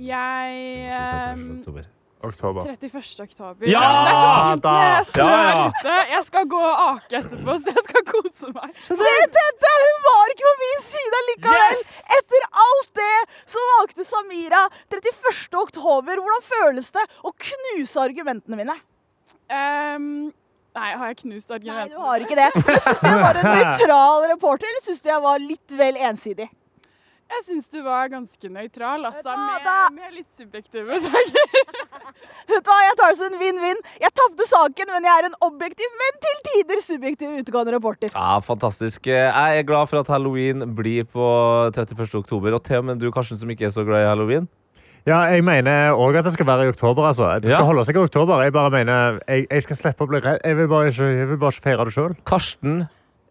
Jeg ehm, Oktober. 31. oktober. Ja, det er så fint da! med snø Ja, ja. ute. Jeg skal gå og ake etterpå, så jeg skal kose meg. Se dette! Hun var ikke på min side likevel! Etter alt det så valgte Samira 31. oktober. Hvordan føles det å knuse argumentene mine? Ehm, nei, har jeg knust argumentene? Nei, du har ikke det. Men Syns du jeg var en nøytral reporter, eller syns du jeg var litt vel ensidig? Jeg syns du var ganske nøytral, altså. Med, med litt subjektive saker. Vet du hva, Jeg tar det som en vinn-vinn. Jeg tapte saken, men jeg er en objektiv, men til tider subjektiv utgående reporter. Ja, Fantastisk. Jeg er glad for at halloween blir på 31. oktober. Og til og med du, Karsten, som ikke er så glad i halloween. Ja, jeg mener òg at det skal være i oktober. altså. Det skal holde seg i oktober. Jeg bare mener, jeg, jeg skal slippe å bli redd. Jeg vil bare ikke, jeg vil bare ikke feire det sjøl. Karsten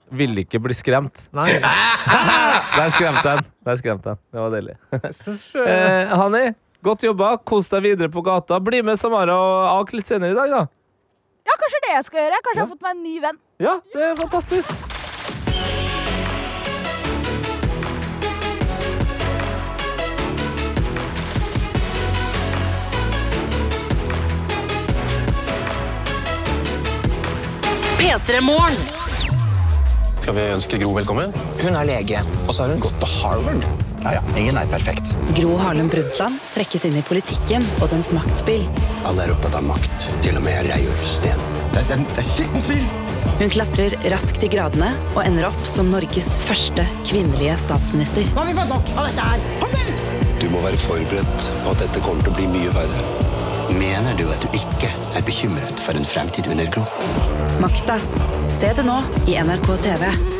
ville ikke bli skremt. Nei. Der skremte jeg den. Der skremte jeg den. Det var deilig. ikke- eh, Hanni, godt jobba. Kos deg videre på gata. Bli med Samara og Ak litt senere i dag, da. Ja, kanskje det jeg skal gjøre. Kanskje jeg har fått meg en ny venn. Ja, det er fantastisk. P3 Morgen. Skal vi ønske Gro velkommen? Hun er lege, og så har hun gått på Harvard. Ja, ja. Ingen er perfekt. Gro Harlem Brundtland trekkes inn i politikken og dens maktspill. Alle er opptatt av makt. Til og med Reiulf Steen. Det, det, det er skikkelig spill! Hun klatrer raskt i gradene og ender opp som Norges første kvinnelige statsminister. Nå har vi fått nok av dette her! Kom ut! Du må være forberedt på at dette kommer til å bli mye verre. Mener du at du ikke er bekymret for en fremtid under Gro? Makta. Se det nå i NRK TV.